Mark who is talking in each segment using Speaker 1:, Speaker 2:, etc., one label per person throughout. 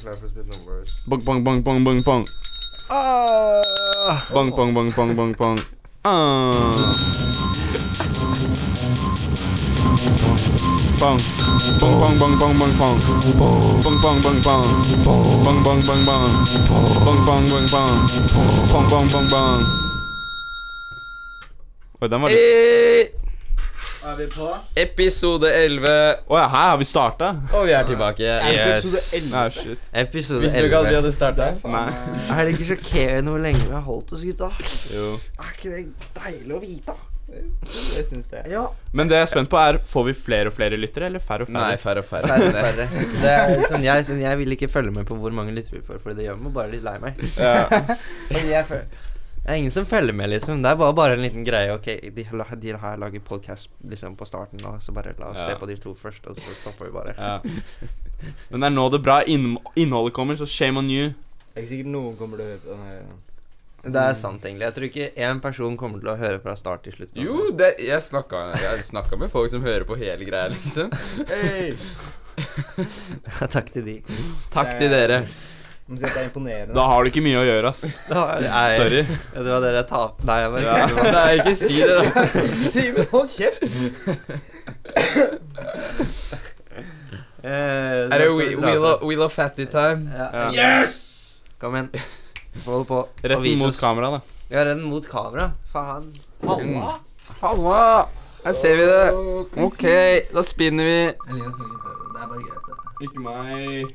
Speaker 1: Clapper's been the worst.
Speaker 2: Bong bong bong bong bong bong.
Speaker 1: Ah!
Speaker 2: Bong bong bong bong bong bong. Ah. Bong. Bong bong bong bong bong bong. Bong bong bong bong. Bong bong bong bong. Bong bong bong bong. Bong bong bong bong. Oi, den var litt
Speaker 3: Eh,
Speaker 1: Er vi på?
Speaker 3: Episode 11,
Speaker 2: Å ja, her har vi starta?
Speaker 3: og vi er tilbake. Yes.
Speaker 2: Nei, shit.
Speaker 4: Episode
Speaker 3: Visste du ikke at vi
Speaker 4: 11.
Speaker 3: hadde starta?
Speaker 2: Nei.
Speaker 4: Er det ikke sjokkerende hvor lenge vi har holdt oss, gutta?
Speaker 2: Jo.
Speaker 4: Er ikke det deilig å vite?
Speaker 3: Jeg syns det.
Speaker 4: Ja.
Speaker 2: Men det jeg er spent på, er får vi flere og flere lyttere, eller færre og færre?
Speaker 3: Nei, færre og færre.
Speaker 4: Færre og færre. Det er sånn, jeg, sånn, jeg vil ikke følge med på hvor mange lyttere vi får, for det gjør meg bare litt lei meg.
Speaker 2: Ja.
Speaker 4: Fordi jeg føl- det er ingen som følger med, liksom. Det er bare, bare en liten greie. Ok, de, la- de her lager podcast liksom, på starten, og så bare la oss
Speaker 2: Ja.
Speaker 4: se på de to først, og så stopper vi bare.
Speaker 2: Ja. Men det er nå det bra inn innholdet kommer, så shame on you.
Speaker 1: Det er ikke sikkert noen kommer til å høre på den her.
Speaker 4: Det er sant, egentlig. Jeg tror ikke én person kommer til å høre fra start til slutt. nå.
Speaker 3: Jo, det, jeg snakka jeg snakket med folk som hører på hele greia, liksom.
Speaker 1: Hey!
Speaker 4: Takk til de.
Speaker 3: Takk til dere.
Speaker 1: Må si at det er imponerende.
Speaker 2: Da har du ikke mye å gjøre, ass.
Speaker 4: Da- Nei,
Speaker 2: Sorry.
Speaker 4: Det var dere jeg tap... Nei, jeg bare
Speaker 2: Ja.
Speaker 3: Nei, ikke si det, da.
Speaker 1: Simen, hold kjeft!
Speaker 4: Eh,
Speaker 3: Er det
Speaker 4: nå skal vi dra
Speaker 3: Wheel
Speaker 4: på.
Speaker 3: of, wheel of Fatty time?
Speaker 4: Ja.
Speaker 2: Ja.
Speaker 4: Kom igjen. Hold på. Og
Speaker 2: Rett
Speaker 4: vis
Speaker 2: mot
Speaker 4: oss.
Speaker 2: kamera, da.
Speaker 4: Ja, redd den mot kamera. Faen.
Speaker 3: Halla. Halla. Her ser vi det. OK, da spinner vi.
Speaker 4: Elias skal ikke se det. Det er bare greit, det.
Speaker 2: Ikke meg.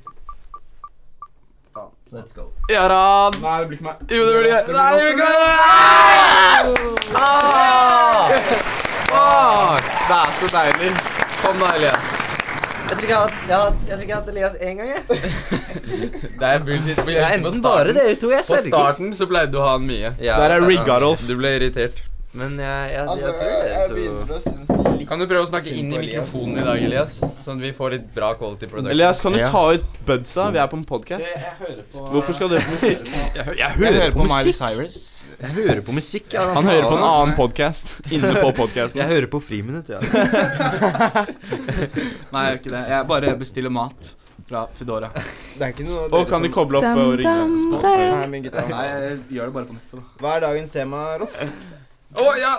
Speaker 4: Let's go.
Speaker 3: Jaran.
Speaker 2: Nei, det blir ikke meg.
Speaker 3: Jo, det blir det. Nei, det blir ikke det. Ah! Ah! Det er så deilig. Kom da, Elias.
Speaker 4: Jeg tror ikke jeg har hatt- jeg har hatt- jeg tror ikke jeg har hatt Elias én gang, jeg.
Speaker 3: Det er bullshit. På
Speaker 4: Det er
Speaker 3: på
Speaker 4: enten bare
Speaker 3: starten-
Speaker 4: dere to. Jeg
Speaker 3: På
Speaker 4: sverger.
Speaker 3: starten så pleide du å ha han mye.
Speaker 4: Ja,
Speaker 2: Der er
Speaker 4: det
Speaker 2: rigga,
Speaker 4: han.
Speaker 2: Rolf.
Speaker 3: Du ble irritert.
Speaker 4: Men jeg, jeg, jeg,
Speaker 1: Altså,
Speaker 4: tror dere
Speaker 1: jeg
Speaker 4: to
Speaker 1: begynner å synes litt
Speaker 3: Kan du prøve å snakke
Speaker 1: Synd
Speaker 3: inn i
Speaker 1: på Elias.
Speaker 3: mikrofonen i dag, Elias? Sånn at vi får litt bra quality production.
Speaker 2: Elias, kan du
Speaker 5: Ja.
Speaker 2: ta ut budsa? Vi er på en podcast.
Speaker 1: Jeg hører på
Speaker 2: Hvorfor skal du høre på musikk?
Speaker 5: Jeg, hører, på, Miley Cyrus.
Speaker 4: Jeg hører på musikk. Ja,
Speaker 2: Han hører på en annen podcast inne på podcasten.
Speaker 4: Jeg hører på Friminutt, ja.
Speaker 5: Nei, jeg gjør ikke det. Jeg bare bestiller mat fra Foodora.
Speaker 1: Det er ikke noe
Speaker 2: Og kan du koble opp og ringe?
Speaker 1: Nei, min gutta.
Speaker 5: Nei, jeg gjør det bare på nettet. da.
Speaker 1: Hva er dagens tema, Rolf?
Speaker 3: Å, ja!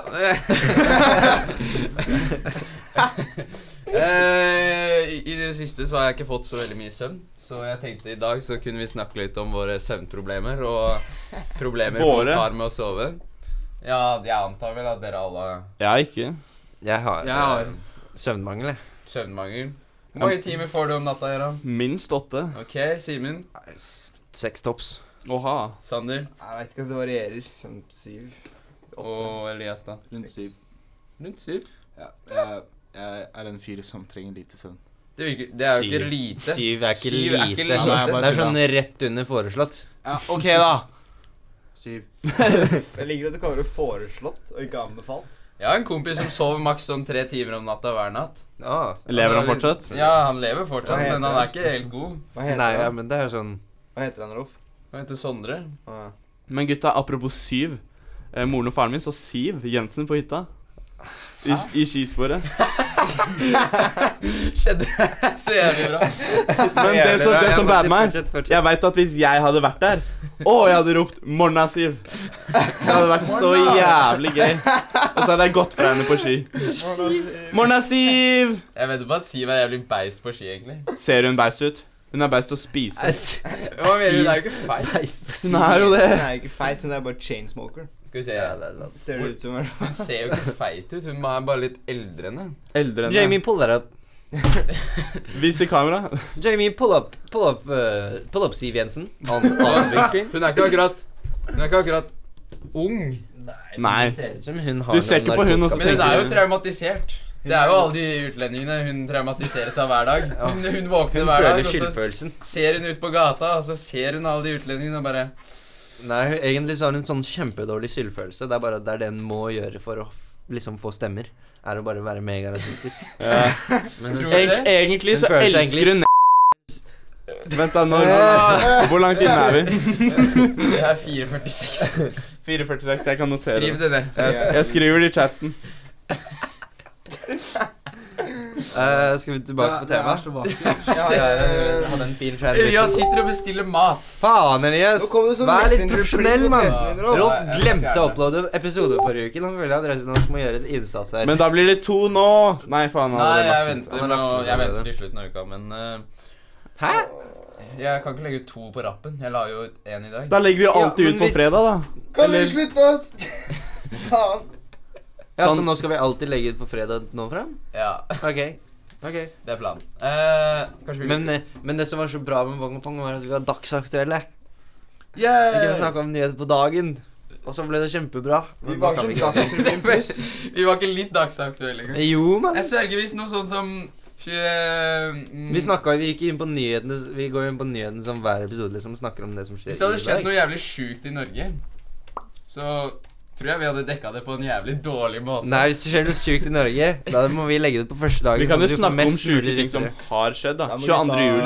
Speaker 3: Eh, I i det siste så har jeg ikke fått så veldig mye søvn, så jeg tenkte i dag så kunne vi snakke litt om våre søvnproblemer og problemer
Speaker 2: Våre?
Speaker 3: folk har med å sove. Ja, jeg antar vel at dere alle
Speaker 2: Jeg ikke.
Speaker 4: Jeg har, eh,
Speaker 5: Jeg har
Speaker 4: søvnmangel, jeg.
Speaker 3: søvnmangel. Hvor mange timer får du om natta, Gøran?
Speaker 2: Minst åtte.
Speaker 3: OK, Simen.
Speaker 4: Nei, s- Seks tops.
Speaker 2: Åha.
Speaker 3: Sander.
Speaker 1: Jeg vet ikke, altså, det varierer. Sånn syv, åtte.
Speaker 3: Og Elias, da.
Speaker 5: rundt syv.
Speaker 3: Rundt syv.
Speaker 5: Ja, jeg, jeg er en fyr som trenger lite søvn.
Speaker 3: Det, virker, det er jo ikke
Speaker 4: Syv.
Speaker 3: lite.
Speaker 4: Syv er ikke
Speaker 3: Syv er ikke
Speaker 4: lite.
Speaker 3: lite.
Speaker 5: Nei, jeg bare
Speaker 4: det er sånn
Speaker 5: tuller.
Speaker 4: rett under foreslått.
Speaker 5: Ja, OK, da. Syv.
Speaker 1: Jeg liker at du kaller det foreslått og ikke anbefalt.
Speaker 3: Jeg har en kompis som sover maks sånn tre timer om natta hver natt.
Speaker 4: Ah.
Speaker 2: Lever han
Speaker 3: Altså,
Speaker 2: fortsatt?
Speaker 3: Ja, han lever fortsatt,
Speaker 1: Hva heter
Speaker 3: men han
Speaker 1: han?
Speaker 3: er ikke helt god.
Speaker 1: Hva heter
Speaker 4: Nei, ja,
Speaker 1: han?
Speaker 4: men det er jo sånn
Speaker 1: Hva heter han, Rolf?
Speaker 3: Han heter Sondre.
Speaker 1: Ah, ja.
Speaker 2: Men gutta, apropos syv. Eh, moren og faren min så Siv Jensen på hytta. I, i skisporet.
Speaker 3: Skjedde så jævlig bra.
Speaker 2: Men det, som- det som bærer meg
Speaker 4: Fortsett, fortsett.
Speaker 2: Jeg veit at hvis jeg hadde vært der Å, jeg hadde ropt 'Morna, Siv'. Det hadde vært så jævlig gøy. Og så hadde jeg gått fra henne på ski. Morna, Siv!
Speaker 3: Jeg vet på at Siv er jævlig beist på ski, egentlig.
Speaker 2: Ser hun beist ut? Hun er beist til å spise.
Speaker 4: Ass,
Speaker 3: Hva mener du? Det er jo ikke feil.
Speaker 4: beist på
Speaker 2: Hun er jo
Speaker 1: Hun
Speaker 2: det.
Speaker 1: er jo ikke feit, hun er bare chainsmoker.
Speaker 3: Skal vi se.
Speaker 4: Ja, det er sant.
Speaker 1: Ser det ut som. i hvert fall.
Speaker 3: Hun ser jo ikke feit ut. Hun er bare litt eldre enn henne.
Speaker 2: Eldre enn
Speaker 4: Jamie,
Speaker 2: Jamie.
Speaker 4: pull that up.
Speaker 2: Vis i kamera.
Speaker 4: Jamie, pull up, pull up, eh, pull up Siv Jensen. On, on big screen.
Speaker 3: Hun er ikke akkurat Hun er ikke akkurat ung.
Speaker 4: Nei.
Speaker 2: Nei.
Speaker 4: men Det ser ut som hun har
Speaker 2: Du ser ikke på hun, og så
Speaker 3: Men hun er jo
Speaker 2: tenker du
Speaker 3: traumatisert. Det er jo alle de utlendingene hun traumatiseres av hver dag. Hun, hun våkner
Speaker 4: Hun
Speaker 3: hver dag,
Speaker 4: føler
Speaker 3: og så
Speaker 4: skyldfølelsen.
Speaker 3: ser hun ut på gata, og så ser hun alle de utlendingene og bare
Speaker 4: Nei, hun- egentlig så har hun sånn kjempedårlig skyldfølelse. Det er bare det er det hun må gjøre for å f- liksom få stemmer. Er å bare være megarasistisk.
Speaker 2: Ja.
Speaker 4: Men
Speaker 3: Tror
Speaker 4: hun,
Speaker 3: du
Speaker 2: Eg, Egentlig så
Speaker 4: Hun føler seg
Speaker 2: elsker hun Vent, da. Når, hvor langt inne er vi?
Speaker 3: Jeg er 4,46.
Speaker 2: 4.46. Jeg kan notere.
Speaker 3: Skriv
Speaker 2: det.
Speaker 3: det ned.
Speaker 2: Jeg, jeg skriver det i chatten.
Speaker 4: Eh, Eh, skal vi tilbake på
Speaker 5: Det er
Speaker 4: temaet?
Speaker 5: så vakkert.
Speaker 1: Ja,
Speaker 4: Ja,
Speaker 1: ja,
Speaker 4: jeg hadde en fin
Speaker 3: Elias
Speaker 4: transition.
Speaker 3: sitter og bestiller mat.
Speaker 4: Faen, Elias!
Speaker 1: Nå kom sånn du som
Speaker 4: Vær litt
Speaker 1: messenger-flipp
Speaker 4: profesjonell,
Speaker 1: på
Speaker 4: mann!
Speaker 1: PC-en din, Rolf.
Speaker 4: Rolf
Speaker 3: Ja, jeg-
Speaker 4: glemte å
Speaker 3: jeg-
Speaker 4: uploade episode forrige uke. Han føler at resten av oss må gjøre en innsats her.
Speaker 2: Men da blir det to nå. Nei, faen. han
Speaker 3: Nei,
Speaker 2: hadde
Speaker 3: jeg
Speaker 2: lagt ut.
Speaker 3: venter,
Speaker 4: Han har
Speaker 3: nå,
Speaker 4: lagt ut
Speaker 3: jeg
Speaker 4: allerede.
Speaker 3: venter til slutten av uka, men eh,
Speaker 4: Hæ?
Speaker 3: jeg kan ikke legge ut to på rappen. Jeg la jo ut én i dag.
Speaker 2: Da legger vi jo alltid
Speaker 4: Ja,
Speaker 2: ut
Speaker 4: men
Speaker 2: på
Speaker 4: vi-
Speaker 2: fredag, da.
Speaker 1: Kan vi
Speaker 2: Eller-
Speaker 1: slutte, ass? Faen.
Speaker 4: Ja, Så
Speaker 2: Sånn-
Speaker 4: nå skal vi alltid legge ut på fredag nå fram?
Speaker 3: Ja,
Speaker 4: Ok. ok.
Speaker 3: det er planen. Eh, kanskje vi
Speaker 4: Men,
Speaker 3: skal-
Speaker 4: eh, men det som var så bra med Bong Pong, var at vi var dagsaktuelle. Vi kunne
Speaker 3: yeah!
Speaker 4: snakke om nyheter på dagen. Og så ble det kjempebra.
Speaker 1: Vi sånn
Speaker 4: Men da
Speaker 1: var
Speaker 4: kan
Speaker 1: så
Speaker 4: vi ikke-
Speaker 1: dagsrevyen pluss.
Speaker 3: Vi var ikke litt dagsaktuelle engang.
Speaker 4: Jo, mann.
Speaker 3: Mm. Jeg sverger visst noe sånn som tjue-
Speaker 4: Vi snakka Vi gikk inn på nyhetene Vi går inn på nyhetene som hver episode liksom snakker om det som skjer.
Speaker 3: Hvis det hadde
Speaker 4: i
Speaker 3: skjedd
Speaker 4: dag.
Speaker 3: noe jævlig sjukt i Norge, så tror jeg vi hadde dekka det på en jævlig dårlig måte.
Speaker 4: Nei, hvis det skjer noe sykt i Norge, da må vi legge det på første dagen.
Speaker 2: Vi kan jo
Speaker 4: sånn at får
Speaker 2: snakke om
Speaker 4: mest
Speaker 2: sjuke
Speaker 4: mulig
Speaker 2: ting som
Speaker 4: rykter.
Speaker 2: har skjedd, da.
Speaker 1: Ja, men
Speaker 2: 22.
Speaker 1: gutta-
Speaker 2: juli.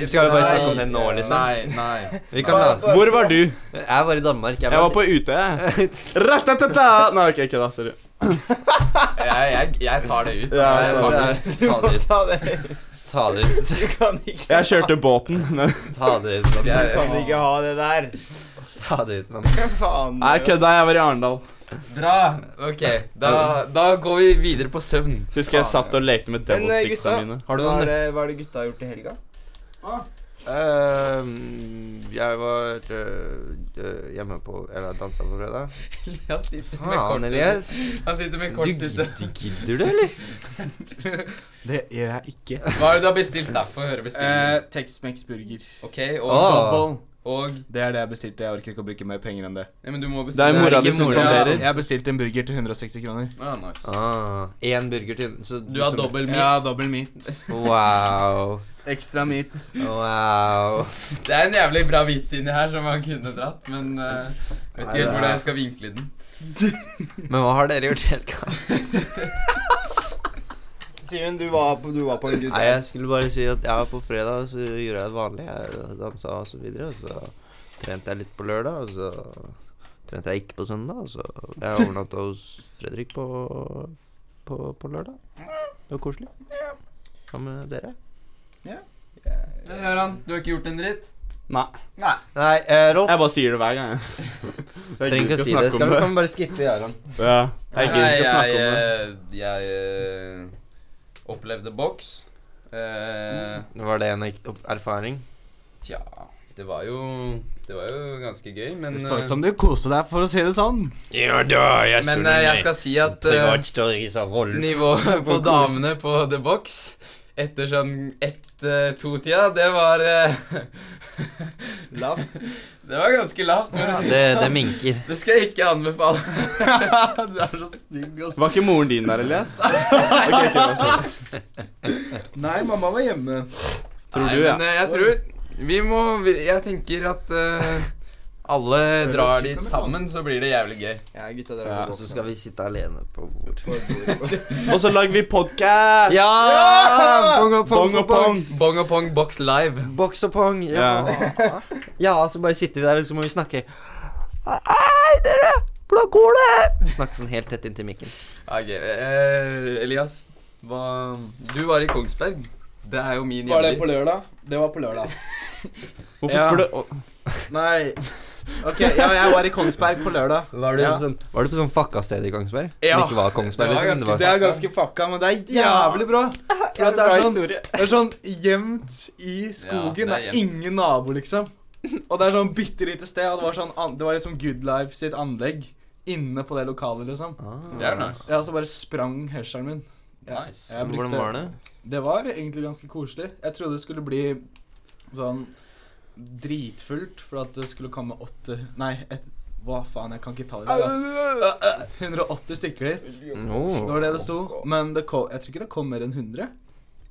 Speaker 3: Nei!
Speaker 4: Skal vi bare
Speaker 3: nei,
Speaker 4: snakke om det nå, liksom?
Speaker 3: Nei, nei.
Speaker 4: Vi kan la
Speaker 2: Hvor var du?
Speaker 4: Jeg var i Danmark.
Speaker 2: Jeg var på UT. jeg. Ratatata! Nei, ok, ikke da. Sorry.
Speaker 3: Jeg, jeg, jeg tar det ut.
Speaker 2: Ja,
Speaker 3: altså.
Speaker 2: ja, ja.
Speaker 3: Fuck it.
Speaker 1: Du må ta det.
Speaker 4: Ta det ut.
Speaker 1: Du kan ikke
Speaker 2: Jeg kjørte båten. men-
Speaker 4: Ta det ut. mann.
Speaker 1: Du kan ikke ha det der.
Speaker 4: Ta det ut, mann.
Speaker 1: Faen. eh,
Speaker 2: Nei, kødda. Jeg var i Arendal.
Speaker 3: Bra. Ok, da, da går vi videre på søvn.
Speaker 2: Husker jeg satt og lekte med
Speaker 1: Men,
Speaker 2: devil
Speaker 1: eh,
Speaker 2: sticksa
Speaker 1: gutta.
Speaker 2: mine.
Speaker 4: Har du
Speaker 1: Hva er
Speaker 4: noen
Speaker 1: det, hva er det gutta har gjort i helga?
Speaker 4: Ehm, Jeg var øh, hjemme på Eller dansa på fredag.
Speaker 3: Elias sitter med
Speaker 4: Faen,
Speaker 3: kortet.
Speaker 4: Elias.
Speaker 3: Han sitter med
Speaker 4: Du,
Speaker 3: kortet ute.
Speaker 4: du gidder du, eller?
Speaker 5: Det gjør jeg ikke.
Speaker 3: Hva er det du har bestilt, da? Få høre bestillingen.
Speaker 5: Eh, Tex-Mex burger.
Speaker 3: Ok, og,
Speaker 4: Åh.
Speaker 5: Dobbel.
Speaker 3: og
Speaker 5: Det er det jeg bestilte. Jeg orker ikke å bruke mer penger enn det.
Speaker 3: Nei, men du må
Speaker 2: Det er
Speaker 3: bestille.
Speaker 4: Det er
Speaker 2: mora di
Speaker 4: ikke
Speaker 2: som
Speaker 4: mora.
Speaker 2: spanderer.
Speaker 5: Jeg bestilte en burger til 160 kroner.
Speaker 3: Ah, nice.
Speaker 4: Ah, én burger til. Så
Speaker 3: Du har
Speaker 4: som-
Speaker 3: dobbel meat.
Speaker 5: Ja, dobbel meat.
Speaker 4: Wow.
Speaker 5: Ekstra meat.
Speaker 4: Wow.
Speaker 3: Det er en jævlig bra vits inni her som man kunne dratt, men eh, jeg vet ikke
Speaker 4: Nei,
Speaker 3: helt
Speaker 4: det
Speaker 3: hvordan
Speaker 4: er-
Speaker 3: jeg skal vinkle den.
Speaker 4: Men hva har dere gjort i helga?
Speaker 1: Simen, du var på, du var på en good
Speaker 4: Nei, jeg skulle bare si at jeg var på fredag, og så gjorde jeg det vanlige. Jeg dansa og så videre. Og så trente jeg litt på lørdag, og så trente jeg ikke på søndag. Og så jeg overnatta hos Fredrik på, på, på lørdag. Det var koselig. Hva med dere?
Speaker 3: Men Gøran, du har ikke gjort en dritt?
Speaker 2: Nei.
Speaker 3: Nei.
Speaker 4: Nei, eh, Rolf.
Speaker 2: Jeg bare sier det hver gang, jeg. Jeg
Speaker 4: Trenger ikke å si det.
Speaker 2: om
Speaker 4: Skal vi kan vi bare skippe Jaron?
Speaker 2: Ja, jeg gidder ikke å
Speaker 3: jeg,
Speaker 2: snakke om det.
Speaker 3: eh, jeg, eh, opplevde boks. Eh,
Speaker 4: Var det en ek- opp- erfaring?
Speaker 3: tja det var, jo, det var jo ganske gøy, men
Speaker 5: Det så
Speaker 3: eh,
Speaker 5: ut som du koste deg, for å si det sånn.
Speaker 4: Ja da, jeg
Speaker 3: Men eh, jeg skal si at eh, nivået på damene på The Box etter sånn ett-to-tida, det var eh,
Speaker 1: Lavt.
Speaker 3: Det var ganske lavt, for å si
Speaker 4: Det,
Speaker 3: det
Speaker 4: det
Speaker 3: sånn.
Speaker 4: minker.
Speaker 3: Det skal jeg ikke anbefale.
Speaker 5: du er så stygg, ass.
Speaker 2: Var ikke moren din der, Elias? Ok, ok, da, sorry.
Speaker 5: Nei, mamma var hjemme.
Speaker 2: Tror
Speaker 3: Nei,
Speaker 2: du, ja.
Speaker 3: men eh, jeg tror Vi må vi- Jeg tenker at eh, alle drar dit sammen, så blir det jævlig gøy.
Speaker 1: Ja, gutta
Speaker 2: Ja,
Speaker 1: dere
Speaker 4: Og så skal vi sitte alene på bord.
Speaker 2: Og så lager vi podcast
Speaker 4: Ja! Pong og pong
Speaker 2: Bong og pong.
Speaker 3: Bong og pong box live.
Speaker 4: Boks og pong. Ja. ja, så bare sitter vi der, og så må vi snakke. Hei, dere! Hvordan går det? Snakke sånn helt tett inntil mikken.
Speaker 3: Ok, eh, Elias, hva, du var i Kongsberg. Det er jo min
Speaker 5: Var det på
Speaker 3: hjemby.
Speaker 5: lørdag? Det var på lørdag.
Speaker 2: Hvorfor
Speaker 5: Ja.
Speaker 2: spør du å,
Speaker 5: Nei. Ok, ja, jeg var i Kongsberg på lørdag.
Speaker 4: Var du,
Speaker 5: Ja.
Speaker 4: på sånn, var du på sånn fucka sted i Kongsberg?
Speaker 5: Ja.
Speaker 4: Som ikke var Kongsberg?
Speaker 3: Det var
Speaker 4: liksom,
Speaker 3: ganske-
Speaker 5: Det er ganske fucka, men det er jævlig bra. For at det, er sånn, det er sånn gjemt i skogen.
Speaker 3: Ja,
Speaker 5: det
Speaker 3: det er
Speaker 5: er,
Speaker 3: gjemt.
Speaker 5: ingen nabo, liksom. Og det er sånn bitte lite sted, og det var, sånn, an- det var liksom Good Life sitt anlegg inne på det lokalet, liksom.
Speaker 4: Ah.
Speaker 3: Det er nice.
Speaker 5: Ja, så bare sprang hesjeren min. Ja,
Speaker 3: Nice.
Speaker 5: jeg
Speaker 4: Hvordan
Speaker 5: brukte-
Speaker 4: var det?
Speaker 5: Det var egentlig ganske koselig. Jeg trodde det skulle bli sånn dritfullt, for at det skulle komme åtte Nei, et, hva faen, jeg kan ikke ta det. Altså. 180 stykker dit. Det
Speaker 4: Oh.
Speaker 5: var det det sto. Men det kom, jeg tror ikke det kom mer enn 100.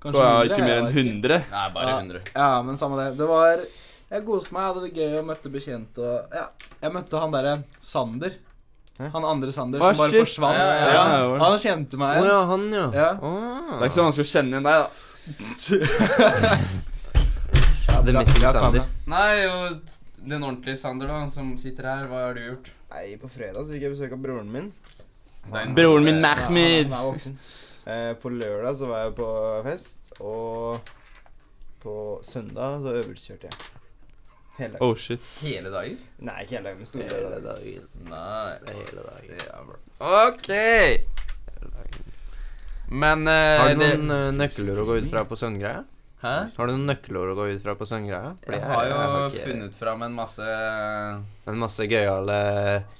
Speaker 2: å, ja,
Speaker 5: Kanskje 100?
Speaker 2: ikke mer enn
Speaker 5: jeg vet
Speaker 2: 100?
Speaker 3: Nei, bare 100.
Speaker 5: Ja, men samme det. Det var Jeg koste meg, jeg hadde det gøy og møtte bekjente og Ja. Jeg møtte han derre Sander. Han andre Sander
Speaker 2: Å,
Speaker 5: som bare
Speaker 2: shit.
Speaker 5: forsvant.
Speaker 3: Ja, ja,
Speaker 2: ja.
Speaker 5: Ja, Han kjente meg.
Speaker 4: Å ja, han, ja.
Speaker 5: Ja.
Speaker 4: Ah.
Speaker 2: Det er ikke så vanskelig å kjenne igjen deg, da.
Speaker 4: Ja, The Missing Sander.
Speaker 3: Nei, og den ordentlige Sander, da, han som sitter her, hva har du gjort?
Speaker 1: Nei, på fredag så fikk jeg besøk av broren min.
Speaker 3: Den-
Speaker 2: Broren min
Speaker 3: eh,
Speaker 1: Ja, han-
Speaker 2: Mahmed.
Speaker 1: han er voksen. Eh, på lørdag så var jeg på fest, og på søndag så øvelseskjørte jeg. Hele dagen.
Speaker 2: Oh shit.
Speaker 3: Hele dagen?
Speaker 1: Nei, ikke hele dagen, men store deler
Speaker 4: Hele
Speaker 1: av dagen.
Speaker 4: dagen.
Speaker 3: Nice.
Speaker 4: Hele dagen.
Speaker 3: Ja, bro. OK! Men eh,
Speaker 4: Har du
Speaker 3: det-
Speaker 4: noen eh, nøkkelord å gå ut fra på søvngreia?
Speaker 3: Hæ?
Speaker 4: Har du noen nøkkelord å gå ut fra på søvngreia? Fordi
Speaker 3: Jeg har jo
Speaker 4: ikke
Speaker 3: funnet fram en masse
Speaker 4: en masse gøyale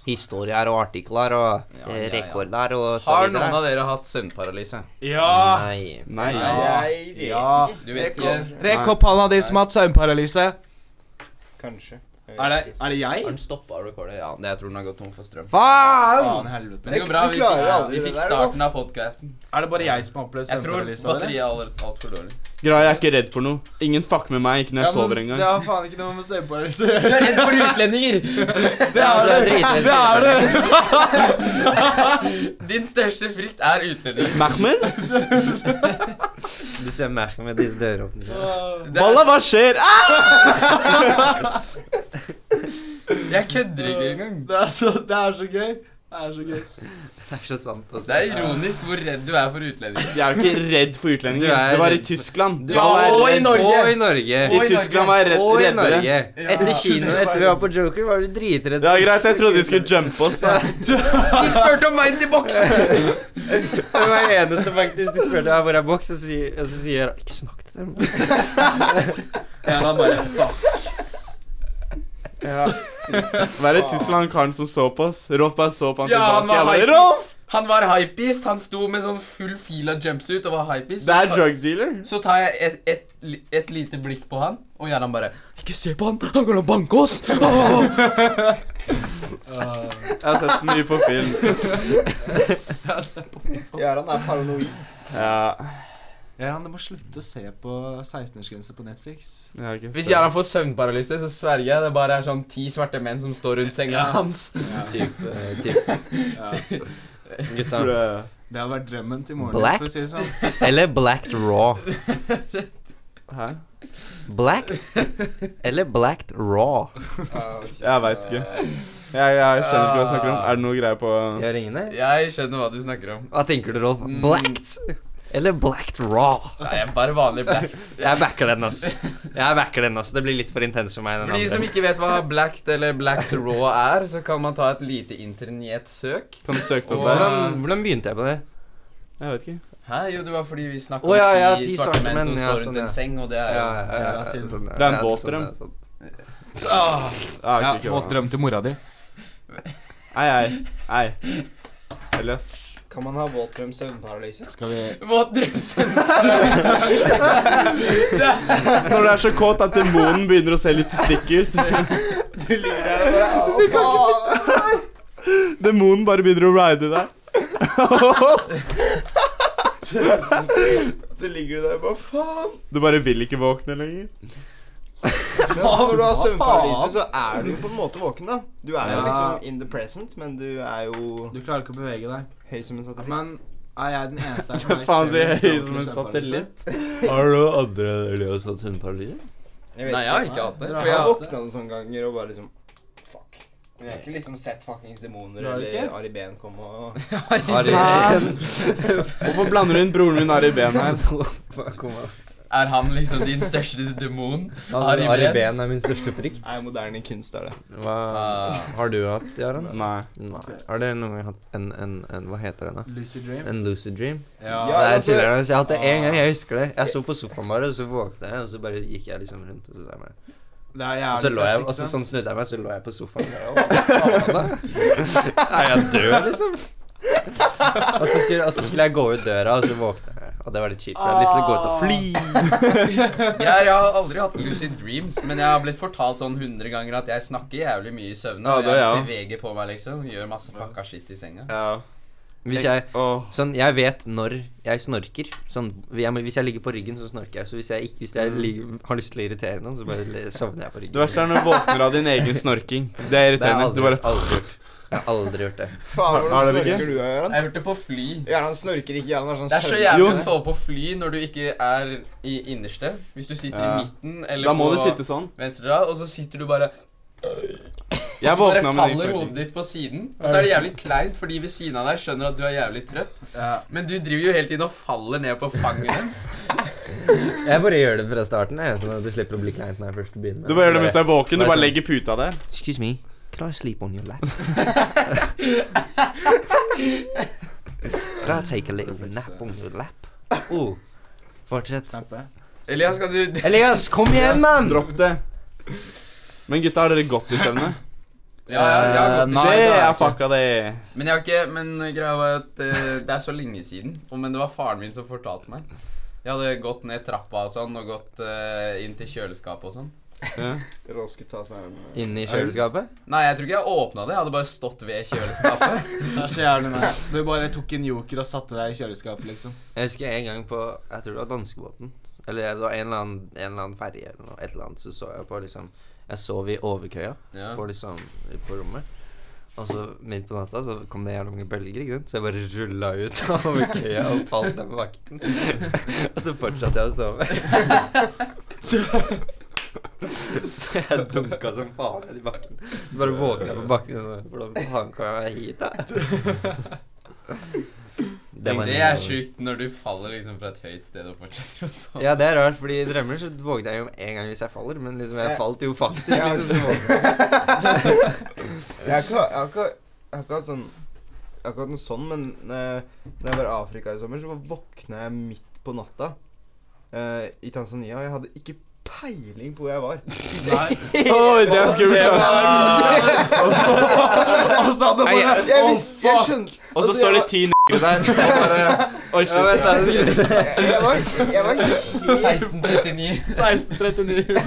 Speaker 4: historier og artikler og
Speaker 3: Ja,
Speaker 4: eh,
Speaker 3: ja, ja.
Speaker 4: rekorder og så
Speaker 3: Har
Speaker 4: videre.
Speaker 3: noen av dere hatt søvnparalyse?
Speaker 5: Ja!
Speaker 4: Nei.
Speaker 2: Nei.
Speaker 3: Ja.
Speaker 1: Jeg vet
Speaker 5: Ja.
Speaker 1: ikke.
Speaker 3: Du vet
Speaker 1: Jeg tror-
Speaker 3: ikke.
Speaker 5: Rekk opp hånda de som har hatt søvnparalyse.
Speaker 1: Kanskje. Jeg vet
Speaker 5: Er det,
Speaker 1: ikke.
Speaker 5: er det
Speaker 3: Har
Speaker 5: jeg?
Speaker 3: den stoppa rekordet? Ja, det- jeg tror den har gått tom for strøm.
Speaker 5: Faen helvete.
Speaker 3: Men det går bra. Vi
Speaker 1: Du klarer
Speaker 3: fikk,
Speaker 1: aldri
Speaker 3: vi
Speaker 1: det
Speaker 3: fikk
Speaker 1: der,
Speaker 3: starten av podkasten.
Speaker 5: Er det bare jeg som har opplevd
Speaker 3: Jeg tror
Speaker 5: søvnparalyse?
Speaker 3: batteriet er alt- altfor dårlig.
Speaker 2: Greia, jeg er ikke redd for noe. Ingen fucker med meg, ikke når jeg sover
Speaker 5: en
Speaker 2: engang.
Speaker 5: gang. Det har faen ikke noe med søvnparalyse å
Speaker 3: Du
Speaker 5: gjøre.
Speaker 3: er redd for utlendinger!
Speaker 5: Det
Speaker 4: Ja,
Speaker 5: er
Speaker 4: det er
Speaker 5: det!
Speaker 4: dritredd.
Speaker 5: Det er det!
Speaker 3: Din største frykt er utlendinger.
Speaker 2: Mahmed?
Speaker 4: Du ser merken med disse døråpningene.
Speaker 3: Det er-
Speaker 2: Walla, hva skjer? Ah!
Speaker 3: Jeg kødder ikke engang.
Speaker 5: Det er så, det er så gøy. Det er så gøy.
Speaker 4: Det er så sant, altså.
Speaker 3: Det er ironisk hvor redd du er for utlendinger.
Speaker 2: Jeg er jo ikke redd for
Speaker 4: Du
Speaker 2: utlendinger.
Speaker 4: er
Speaker 2: Det var i
Speaker 4: redd for-
Speaker 2: Tyskland.
Speaker 4: Du
Speaker 3: Ja,
Speaker 4: er
Speaker 3: og i
Speaker 4: redd-
Speaker 3: Norge.
Speaker 4: Og i Norge.
Speaker 3: Og i
Speaker 2: I Tyskland var jeg redd,
Speaker 4: Og i
Speaker 2: reddere.
Speaker 4: Norge. Etter kinoen, etter vi var på Joker, var du dritredd.
Speaker 2: Det er greit, jeg trodde de skulle jumpe oss. da.
Speaker 3: De spurte om veien til boksen!
Speaker 4: Det var det eneste faktisk de spurte meg hvor er boks, og så sier- og så sier jeg Ikke snakk til dem.
Speaker 5: Jeg var bare, fuck.
Speaker 4: Ja.
Speaker 2: Hva er det Tyskland-karen som så på oss? Rolf bare så på han
Speaker 3: Ja, han
Speaker 2: tilbake.
Speaker 3: var
Speaker 2: Jeg bare,
Speaker 3: hypist.
Speaker 2: Rolf!
Speaker 3: Han var hypebeast. Han sto med sånn full fil av jumpsuit og var
Speaker 2: Det
Speaker 3: hypebeast. Så
Speaker 2: er
Speaker 3: ta-
Speaker 2: drug dealer.
Speaker 3: Så tar jeg et, et, li- et lite blikk på han, og Gjerdan bare Ikke se på han! Han kan banke oss! Åh!
Speaker 5: Uh,
Speaker 2: Jeg har sett så mye på film.
Speaker 5: jeg ser på meg.
Speaker 1: Gøran er paranoid.
Speaker 2: Ja,
Speaker 5: Ja, du må slutte å se på 16-årsgrense på Netflix.
Speaker 2: jeg har ikke
Speaker 3: Hvis
Speaker 2: sett.
Speaker 3: Gjerdan får søvnparalyse, så sverger jeg det bare er sånn ti svarte menn som står rundt senga hans.
Speaker 4: Typ, eh, typ.
Speaker 5: Ja.
Speaker 4: Gutta.
Speaker 2: Brød.
Speaker 5: Det hadde vært drømmen til morgenen,
Speaker 4: Blacked?
Speaker 5: for å si det sånn.
Speaker 4: Eller blacked raw.
Speaker 2: Hæ?
Speaker 4: Blacked eller blacked raw.
Speaker 3: altså.
Speaker 2: Jeg vet ikke. Jeg, jeg skjønner ikke hva jeg snakker om. Er det noe greier på
Speaker 4: Gjør ingen det?
Speaker 3: Jeg skjønner hva du snakker om.
Speaker 4: Hva tenker du, Rolf? Blacked eller blacked raw?
Speaker 3: Nei, jeg er bare vanlig black.
Speaker 4: Jeg backer den, ass. Jeg backer den, ass. Det blir litt for intens for meg, den
Speaker 3: For de som
Speaker 4: andre.
Speaker 3: ikke vet hva blacked eller blacked raw er, så kan man ta et lite internet-søk.
Speaker 2: Kan du søke det opp der?
Speaker 4: Hvordan, hvordan begynte jeg på det?
Speaker 2: Jeg vet ikke.
Speaker 3: Hæ? Jo, det var fordi vi snakket
Speaker 4: Å,
Speaker 3: om
Speaker 4: ja,
Speaker 3: ti,
Speaker 4: ja, ti
Speaker 3: svarte
Speaker 4: svarte
Speaker 3: menn,
Speaker 4: menn,
Speaker 3: som
Speaker 4: ja,
Speaker 3: står rundt
Speaker 4: sånn,
Speaker 3: en
Speaker 4: ja.
Speaker 3: seng, og det er jo
Speaker 4: Ja, ja, ja,
Speaker 5: Det er
Speaker 4: sånn, ja.
Speaker 2: Det er en
Speaker 4: Ja,
Speaker 2: våt
Speaker 4: sånn,
Speaker 2: drøm.
Speaker 4: ja, sånn.
Speaker 5: Ah,
Speaker 2: Ah,
Speaker 5: ja,
Speaker 2: ikke
Speaker 5: Våt
Speaker 2: bra.
Speaker 5: drøm til mora di.
Speaker 2: Ei, ei. Ei. Elias.
Speaker 1: Kan man ha våtdrøm søvnparalyse?
Speaker 5: Skal vi
Speaker 3: Våt drømsøvn.
Speaker 2: Når du er så kåt at demonen begynner å se litt stikk ut.
Speaker 1: Du ligger der og bare Au, faen!
Speaker 2: Demonen bare begynner å ride deg.
Speaker 1: Så ligger du der og bare Faen!
Speaker 2: Du bare vil ikke våkne lenger.
Speaker 1: Men altså, når du har
Speaker 5: Hva
Speaker 1: søvnparalyse,
Speaker 5: faen?
Speaker 1: så er du jo på en måte våken, da. Du er jo
Speaker 5: Ja.
Speaker 1: liksom in the present, men du er jo
Speaker 5: Du klarer ikke å bevege deg.
Speaker 1: høy som en satellitt.
Speaker 5: Men er jeg den eneste her som har
Speaker 2: Faen, sier jeg høy
Speaker 5: ekstremt
Speaker 2: som en
Speaker 5: språklig
Speaker 2: satellitt.
Speaker 4: Har du andre Elias hatt søvnparalyse?
Speaker 1: Jeg vet
Speaker 3: Nei,
Speaker 1: ikke.
Speaker 3: jeg har ikke hatt det.
Speaker 5: Dere
Speaker 3: For
Speaker 5: har
Speaker 1: Jeg
Speaker 3: jeg
Speaker 1: har
Speaker 5: hatt
Speaker 3: har
Speaker 5: det.
Speaker 1: våkna noen sånne ganger og bare liksom Fuck. Men jeg har ikke liksom sett fuckings demoner
Speaker 5: Du har det
Speaker 1: eller
Speaker 5: ikke?
Speaker 1: Ari Behn komme og
Speaker 2: Hvorfor blander du inn broren min Ari Ben her?
Speaker 3: Er han liksom din største demon? Ari
Speaker 4: Ari
Speaker 3: Ben?
Speaker 4: Ben er min største frykt.
Speaker 1: Nei, moderne kunst er det.
Speaker 4: Hva
Speaker 3: Ah.
Speaker 4: har du hatt, Jaran?
Speaker 2: Nei.
Speaker 4: Nei. Har dere noen gang hatt en, en, en Hva heter den, da?
Speaker 5: Lucid Dream.
Speaker 4: En lucid dream?
Speaker 1: Ja,
Speaker 4: det er
Speaker 1: altså-
Speaker 4: chilleren hans. Jeg har hatt det én gang, jeg husker det. Jeg så på sofaen bare, og så våkna jeg, og så bare gikk jeg liksom rundt, og så, sa jeg meg.
Speaker 5: Det er
Speaker 4: Og
Speaker 5: jævlig
Speaker 4: så lå jeg,
Speaker 5: fett,
Speaker 4: og
Speaker 5: ikke
Speaker 4: så
Speaker 5: sant?
Speaker 4: sånn snudde jeg meg, så lå jeg på sofaen. og jeg, «Hva faen, da?» Er jeg død, liksom? Og så, skulle, og så skulle jeg gå ut døra, og så våkna jeg. Og det var litt kjipt, for jeg hadde lyst til å gå ut og fly.
Speaker 3: Jeg, jeg har aldri hatt lucid dreams, men jeg har blitt fortalt sånn 100 ganger at jeg snakker jævlig mye i søvne.
Speaker 2: Ja,
Speaker 3: og
Speaker 2: det
Speaker 3: jeg
Speaker 2: er jeg også.
Speaker 3: beveger på meg, liksom. Gjør masse fucka shit i senga.
Speaker 2: Ja. Ah,
Speaker 4: Hvis jeg
Speaker 2: Åh.
Speaker 4: Sånn, jeg vet når jeg snorker. Sånn, jeg, hvis jeg ligger på ryggen, så snorker jeg. Så hvis jeg, ikke, hvis jeg ligger, har lyst til å irritere noen, så bare le- sovner jeg på
Speaker 2: Mm.
Speaker 4: ryggen.
Speaker 2: Det verste er når du våkner av din egen snorking. Det er
Speaker 4: Det har jeg
Speaker 2: irriterende. Du
Speaker 4: aldri,
Speaker 2: bare
Speaker 4: aldri gjort. Jeg har aldri gjort det.
Speaker 1: Faen,
Speaker 2: har
Speaker 1: hvordan
Speaker 2: dere ikke?
Speaker 1: snorker du, Gøran?
Speaker 3: Jeg har hørt det på fly.
Speaker 1: Gøran snorker ikke. Gøran har sånn
Speaker 3: Det er så
Speaker 1: søvn-
Speaker 2: Jo.
Speaker 3: jævlig å sove på fly når du ikke er i innerste. Hvis du sitter
Speaker 2: Ja.
Speaker 3: i midten eller
Speaker 2: Da må du
Speaker 3: på
Speaker 2: sitte sånn.
Speaker 3: venstre rad, og så sitter du bare
Speaker 2: Jeg
Speaker 3: så Altså, bare
Speaker 2: våkna med
Speaker 3: faller hodet
Speaker 2: drikksaken.
Speaker 3: ditt på siden. Og så er det jævlig kleint, for de ved siden av deg skjønner at du er jævlig trøtt.
Speaker 5: Ja.
Speaker 3: Men du driver jo hele tiden og faller ned på fanget deres.
Speaker 6: Jeg bare gjør det fra starten, jeg, sånn at det slipper å bli kleint når jeg først begynner.
Speaker 2: Du bare gjør det mens du er våken. Du
Speaker 6: Bare
Speaker 2: bare
Speaker 6: sånn.
Speaker 2: legger puta der.
Speaker 4: Excuse me, can I sleep on your lap? can I take a little nap on your lap? Oh, fortsett.
Speaker 3: sånn-
Speaker 5: Snappe.
Speaker 3: Elias, kan du
Speaker 4: Elias, kom igjen, mann!
Speaker 2: Dropp det. Men gutta, har dere gått i søvne?
Speaker 3: Ja, ja, jeg har gått i
Speaker 2: Det
Speaker 5: Nei, det har jeg
Speaker 2: er
Speaker 5: ikke.
Speaker 2: fucka, det.
Speaker 3: Men jeg har ikke, men greia var at eh, det er så lenge siden. Og, men det var faren min som fortalte meg. Jeg hadde gått ned trappa og sånn, og gått eh, inn til kjøleskapet og sånn.
Speaker 2: Ja.
Speaker 1: Rolf skulle ta seg en
Speaker 6: Inne i kjøleskapet?
Speaker 3: Nei, jeg tror ikke jeg åpna det. Jeg hadde bare stått ved kjøleskapet.
Speaker 5: Det er så jævlig nice. Du bare tok en joker og satte deg i kjøleskapet, liksom.
Speaker 4: Jeg husker en gang på Jeg tror det var danskebåten. Eller det var en eller annen, en eller annen ferge eller noe. Et eller annet. Så så jeg på liksom Jeg sov i overkøya
Speaker 3: Ja.
Speaker 4: på liksom På rommet. Og så midt på natta så kom det jævla mange bølger, ikke sant. Så jeg bare rulla ut av overkøya og falt ned på bakken. og så fortsatte jeg å sove. så jeg dunka som faen ned i bakken. Så bare våkna jeg på bakken og så Hvordan faen kom jeg meg hit, da?
Speaker 3: Det,
Speaker 4: var en-
Speaker 3: er sjukt når du faller liksom fra et høyt sted og fortsetter å sove.
Speaker 4: Ja, det er rart, fordi i drømmer så vågner jeg jo en gang hvis jeg faller, men liksom jeg
Speaker 1: Ja.
Speaker 4: falt jo faktisk.
Speaker 1: Ja.
Speaker 4: liksom, så vågner jeg.
Speaker 1: Jeg har ikke, jeg har ikke, jeg har ikke hatt sånn Jeg har ikke hatt noe sånn, men eh, Når jeg var i Afrika i sommer, så bare våkna jeg midt på natta eh, i Tanzania. og Jeg hadde ikke peiling på hvor jeg var.
Speaker 5: Nei.
Speaker 2: Oi, det er skummelt. ass.
Speaker 5: Og så hadde
Speaker 3: Nei, jeg-
Speaker 5: bare
Speaker 1: Jeg visste, jeg skjønte
Speaker 2: Og så står det ti n***er der. og bare, Oi,
Speaker 4: Ja,
Speaker 2: shit.
Speaker 4: vent da, det-
Speaker 1: Jeg var, jeg var,
Speaker 3: 1639.
Speaker 5: 1639.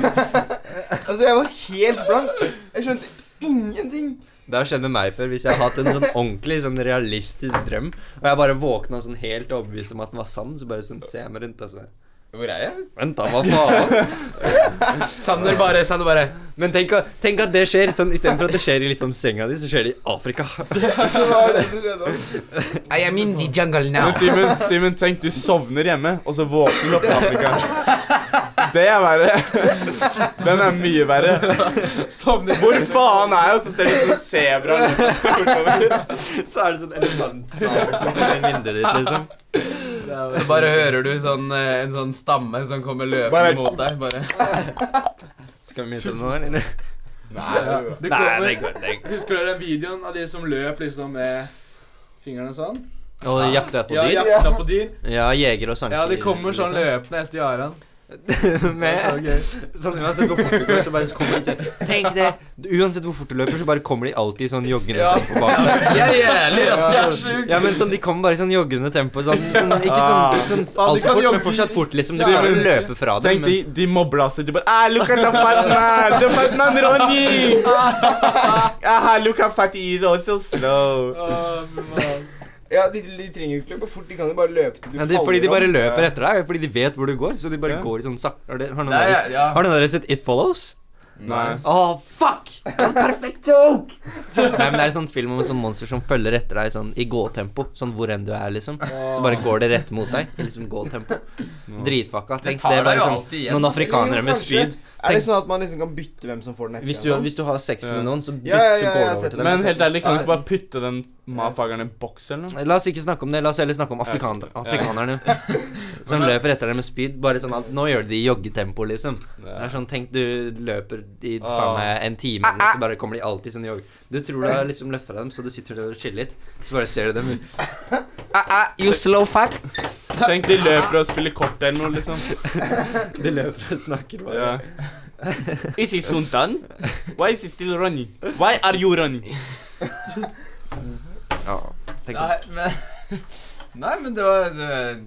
Speaker 1: altså, jeg var helt blank. Jeg skjønte ingenting.
Speaker 4: Det har skjedd med meg før, hvis jeg har hatt en sånn ordentlig sånn realistisk drøm, og jeg bare våkna sånn helt overbevist om at den var sann, så bare sånn ser jeg meg rundt og så
Speaker 3: Hvor er jeg?
Speaker 4: Vent, da, hva faen?
Speaker 3: Sander bare Sander bare
Speaker 4: Men tenk, at- tenk at det skjer. sånn Istedenfor at det skjer i liksom senga di, så skjer det i Afrika.
Speaker 1: Det var det som skjedde.
Speaker 3: I am in the jungle now.
Speaker 2: Men Simen, Simen, tenk, du sovner hjemme, og så våkner du opp i Afrika. Det er verre. Den er mye verre.
Speaker 5: Sovner.
Speaker 2: Hvor faen er jeg? Og så ser du sånn sebra
Speaker 4: Så er det sånn elefantsnabel som kommer inn vinduet ditt, liksom.
Speaker 3: Så bare hører du sånn eh, en sånn stamme som kommer løpende
Speaker 2: Bare-
Speaker 3: mot deg. Bare
Speaker 4: Skal vi mute det nå, eller?
Speaker 5: Nei, ja. det
Speaker 4: Nei, det
Speaker 5: kommer.
Speaker 4: går det går.
Speaker 5: Husker dere den videoen av de som løp liksom med fingrene sånn?
Speaker 4: Og jakta på
Speaker 5: Ja,
Speaker 4: dyr?
Speaker 5: jakta på dyr.
Speaker 4: Ja, jeger og sanker.
Speaker 5: Ja, de kommer sånn løpende etter Jaran.
Speaker 4: liksom.
Speaker 5: Det
Speaker 4: Med
Speaker 5: er så gøy.
Speaker 4: Sånn, uansett hvor fort du går, så bare så kommer de sånn Tenk det! Uansett hvor fort du løper, så bare kommer de alltid i sånn joggende
Speaker 5: Ja.
Speaker 4: tempo bak deg.
Speaker 3: Jeg er jævlig altså. rask. jeg er sjuk.
Speaker 4: Ja, men sånn, De kommer bare i sånn joggende tempo. Sånn, sånn, ikke
Speaker 2: Ah.
Speaker 4: sånn, ikke sånn
Speaker 5: Ah. Ja, de
Speaker 4: altfor
Speaker 5: kan
Speaker 4: fort, men
Speaker 5: jogge-
Speaker 4: fortsatt fort, liksom. Du
Speaker 5: Ja,
Speaker 4: klarer å
Speaker 5: men-
Speaker 4: løpe fra dem.
Speaker 2: Tenk, de,
Speaker 4: Men,
Speaker 2: de mobla seg. De bare ah, look at the fat man, the fat man Ronny! Ah, look how fat he is, oh, so slow.
Speaker 1: Ja, de, de trenger jo ikke løpe fort, de kan jo bare løpe til du
Speaker 4: ja, de, fordi de bare
Speaker 1: om.
Speaker 4: løper etter deg, fordi de vet hvor du går. Så de bare
Speaker 2: Ja.
Speaker 4: går i sånn sakte Har dere- har noen
Speaker 3: Nei,
Speaker 4: av dere-
Speaker 3: ja.
Speaker 4: har noen av dere sett It Follows?
Speaker 2: Nei.
Speaker 4: Å, fuck! Det var en Perfekt joke! Nei, men Det er en sånn film om sånn monster som følger etter deg sånn i gåtempo. Sånn hvor enn du er, liksom. Så bare går det rett mot deg. I liksom gåtempo. Dritfucka.
Speaker 3: Det
Speaker 4: Tenk
Speaker 3: tar
Speaker 4: det,
Speaker 3: deg
Speaker 4: bare
Speaker 3: jo
Speaker 4: sånn
Speaker 3: alltid igjen.
Speaker 4: noen afrikanere med
Speaker 1: Kanskje.
Speaker 4: spyd.
Speaker 1: Er det
Speaker 4: Tenk-
Speaker 1: sånn at man liksom kan bytte hvem som får den etter
Speaker 4: Hvis du,
Speaker 1: hverandre?
Speaker 4: hvis du har sex med
Speaker 2: Ja.
Speaker 4: noen, så bytter
Speaker 1: Ja, ja, ja, jeg har
Speaker 4: bålet over
Speaker 1: sett
Speaker 4: til
Speaker 1: det.
Speaker 4: dem.
Speaker 2: Men helt ærlig, kan du
Speaker 1: Ja.
Speaker 2: ikke bare putte den matfageren i boks eller noe?
Speaker 4: La oss ikke snakke om det. La oss heller snakke om afrikaner,
Speaker 2: Ja.
Speaker 4: afrikanerne. Som løper etter deg med spyd. Bare sånn at Nå gjør de det i joggetempo, liksom. Det er sånn, Tenk, du løper i faen meg en time,
Speaker 1: Ah,
Speaker 4: eller så bare kommer de alltid sånn i jogg. Du tror du har liksom løfta dem, så du sitter der og chiller litt. Så bare ser du dem
Speaker 3: You slow fuck.
Speaker 2: Tenk, de løper og spiller kort eller noe, liksom.
Speaker 4: De løper og snakker bare.
Speaker 2: Ja. Is he Suntan? Why is he still running? Why are you running?
Speaker 4: Ja, tenk
Speaker 3: Nei, men Nei, men det var det-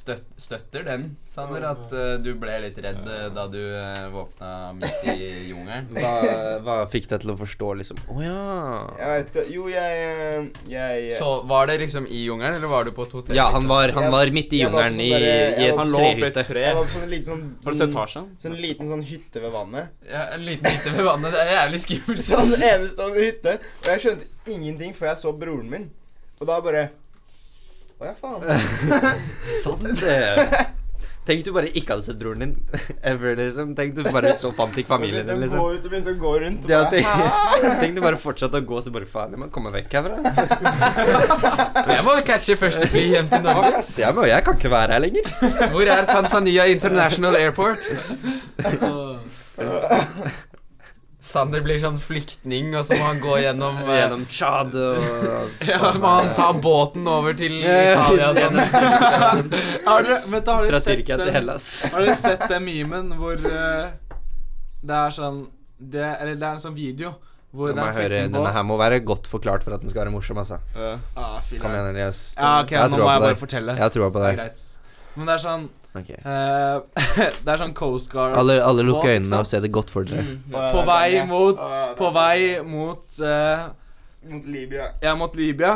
Speaker 3: støt, Støtter den, Sander, at eh, du ble litt redd eh, da du eh, våkna midt i jungelen?
Speaker 4: hva, hva fikk deg til å forstå, liksom? Å ja.
Speaker 1: Jeg vet ikke Jo, jeg eh, Jeg
Speaker 3: Så var det liksom i jungelen, eller var du på et hotell?
Speaker 4: Ja, han
Speaker 3: liksom?
Speaker 4: var, han var midt i
Speaker 1: Jeg var på
Speaker 4: jungelen i,
Speaker 1: sånn derre-
Speaker 4: i
Speaker 1: jeg
Speaker 4: et
Speaker 1: var
Speaker 2: Han lå oppi et
Speaker 4: trehytte.
Speaker 2: tre.
Speaker 1: Jeg var på sånn liten sånn
Speaker 2: Har du sett Tarzan?
Speaker 1: Sånn liten sånn hytte ved vannet.
Speaker 3: ja, En liten hytte ved vannet. Det er jævlig skummelt.
Speaker 1: Sånn enestående hytte. Og jeg skjønte ingenting før jeg så broren min. Og da bare Å ja, faen.
Speaker 4: Sant det. Tenk du bare ikke hadde sett broren din ever, liksom. Tenk du bare så fant ikke familien din,
Speaker 1: Den
Speaker 4: liksom.
Speaker 1: går ut og begynte å gå rundt.
Speaker 4: Det at
Speaker 1: bare,
Speaker 4: jeg, tenk du bare fortsatte å gå, så bare faen, jeg må komme vekk herfra. altså.
Speaker 3: Jeg må catche første fly hjem til
Speaker 4: Hva vil
Speaker 3: Norge.
Speaker 4: jeg se meg, og jeg kan ikke være her lenger.
Speaker 3: Hvor er Tanzania International Airport? Sander blir sånn flyktning, og så må han gå gjennom, eh,
Speaker 4: Gjennom Tsjad og
Speaker 3: Og så må han ta båten over til
Speaker 4: Ja, ja.
Speaker 3: Italia og sånn.
Speaker 5: Har dere, vent, da,
Speaker 4: fra
Speaker 5: har dere sett
Speaker 4: Tyrkia til
Speaker 5: den-
Speaker 4: Hellas.
Speaker 5: Har dere sett den memen hvor eh, det er sånn det, Eller det er en sånn video hvor
Speaker 4: Nå må
Speaker 5: det
Speaker 4: jeg
Speaker 5: er
Speaker 4: høre,
Speaker 5: en
Speaker 4: Denne
Speaker 5: flyktningbåt
Speaker 4: her må være godt forklart for at den skal være morsom, altså.
Speaker 5: ah, fy
Speaker 4: Kom
Speaker 5: da.
Speaker 4: igjen, Elias.
Speaker 5: Ja, ok,
Speaker 4: Jeg
Speaker 5: nå
Speaker 4: tror
Speaker 5: må
Speaker 4: på
Speaker 5: jeg
Speaker 4: deg.
Speaker 5: bare fortelle.
Speaker 4: Jeg har troa på
Speaker 5: det er
Speaker 4: deg.
Speaker 5: greit. Men det er sånn
Speaker 4: Ok.
Speaker 5: eh, Det er sånn Coast Guard
Speaker 4: Alle, alle
Speaker 5: Hva,
Speaker 4: lukker
Speaker 5: ikke
Speaker 4: øynene og
Speaker 5: sant?
Speaker 4: se det godt for dere.
Speaker 5: Mm.
Speaker 1: Ja,
Speaker 5: På
Speaker 1: det er
Speaker 5: vei
Speaker 1: det.
Speaker 5: mot
Speaker 1: Ja, det er
Speaker 5: På
Speaker 1: det.
Speaker 5: vei mot eh,
Speaker 1: Mot Libya.
Speaker 5: Ja, mot Libya.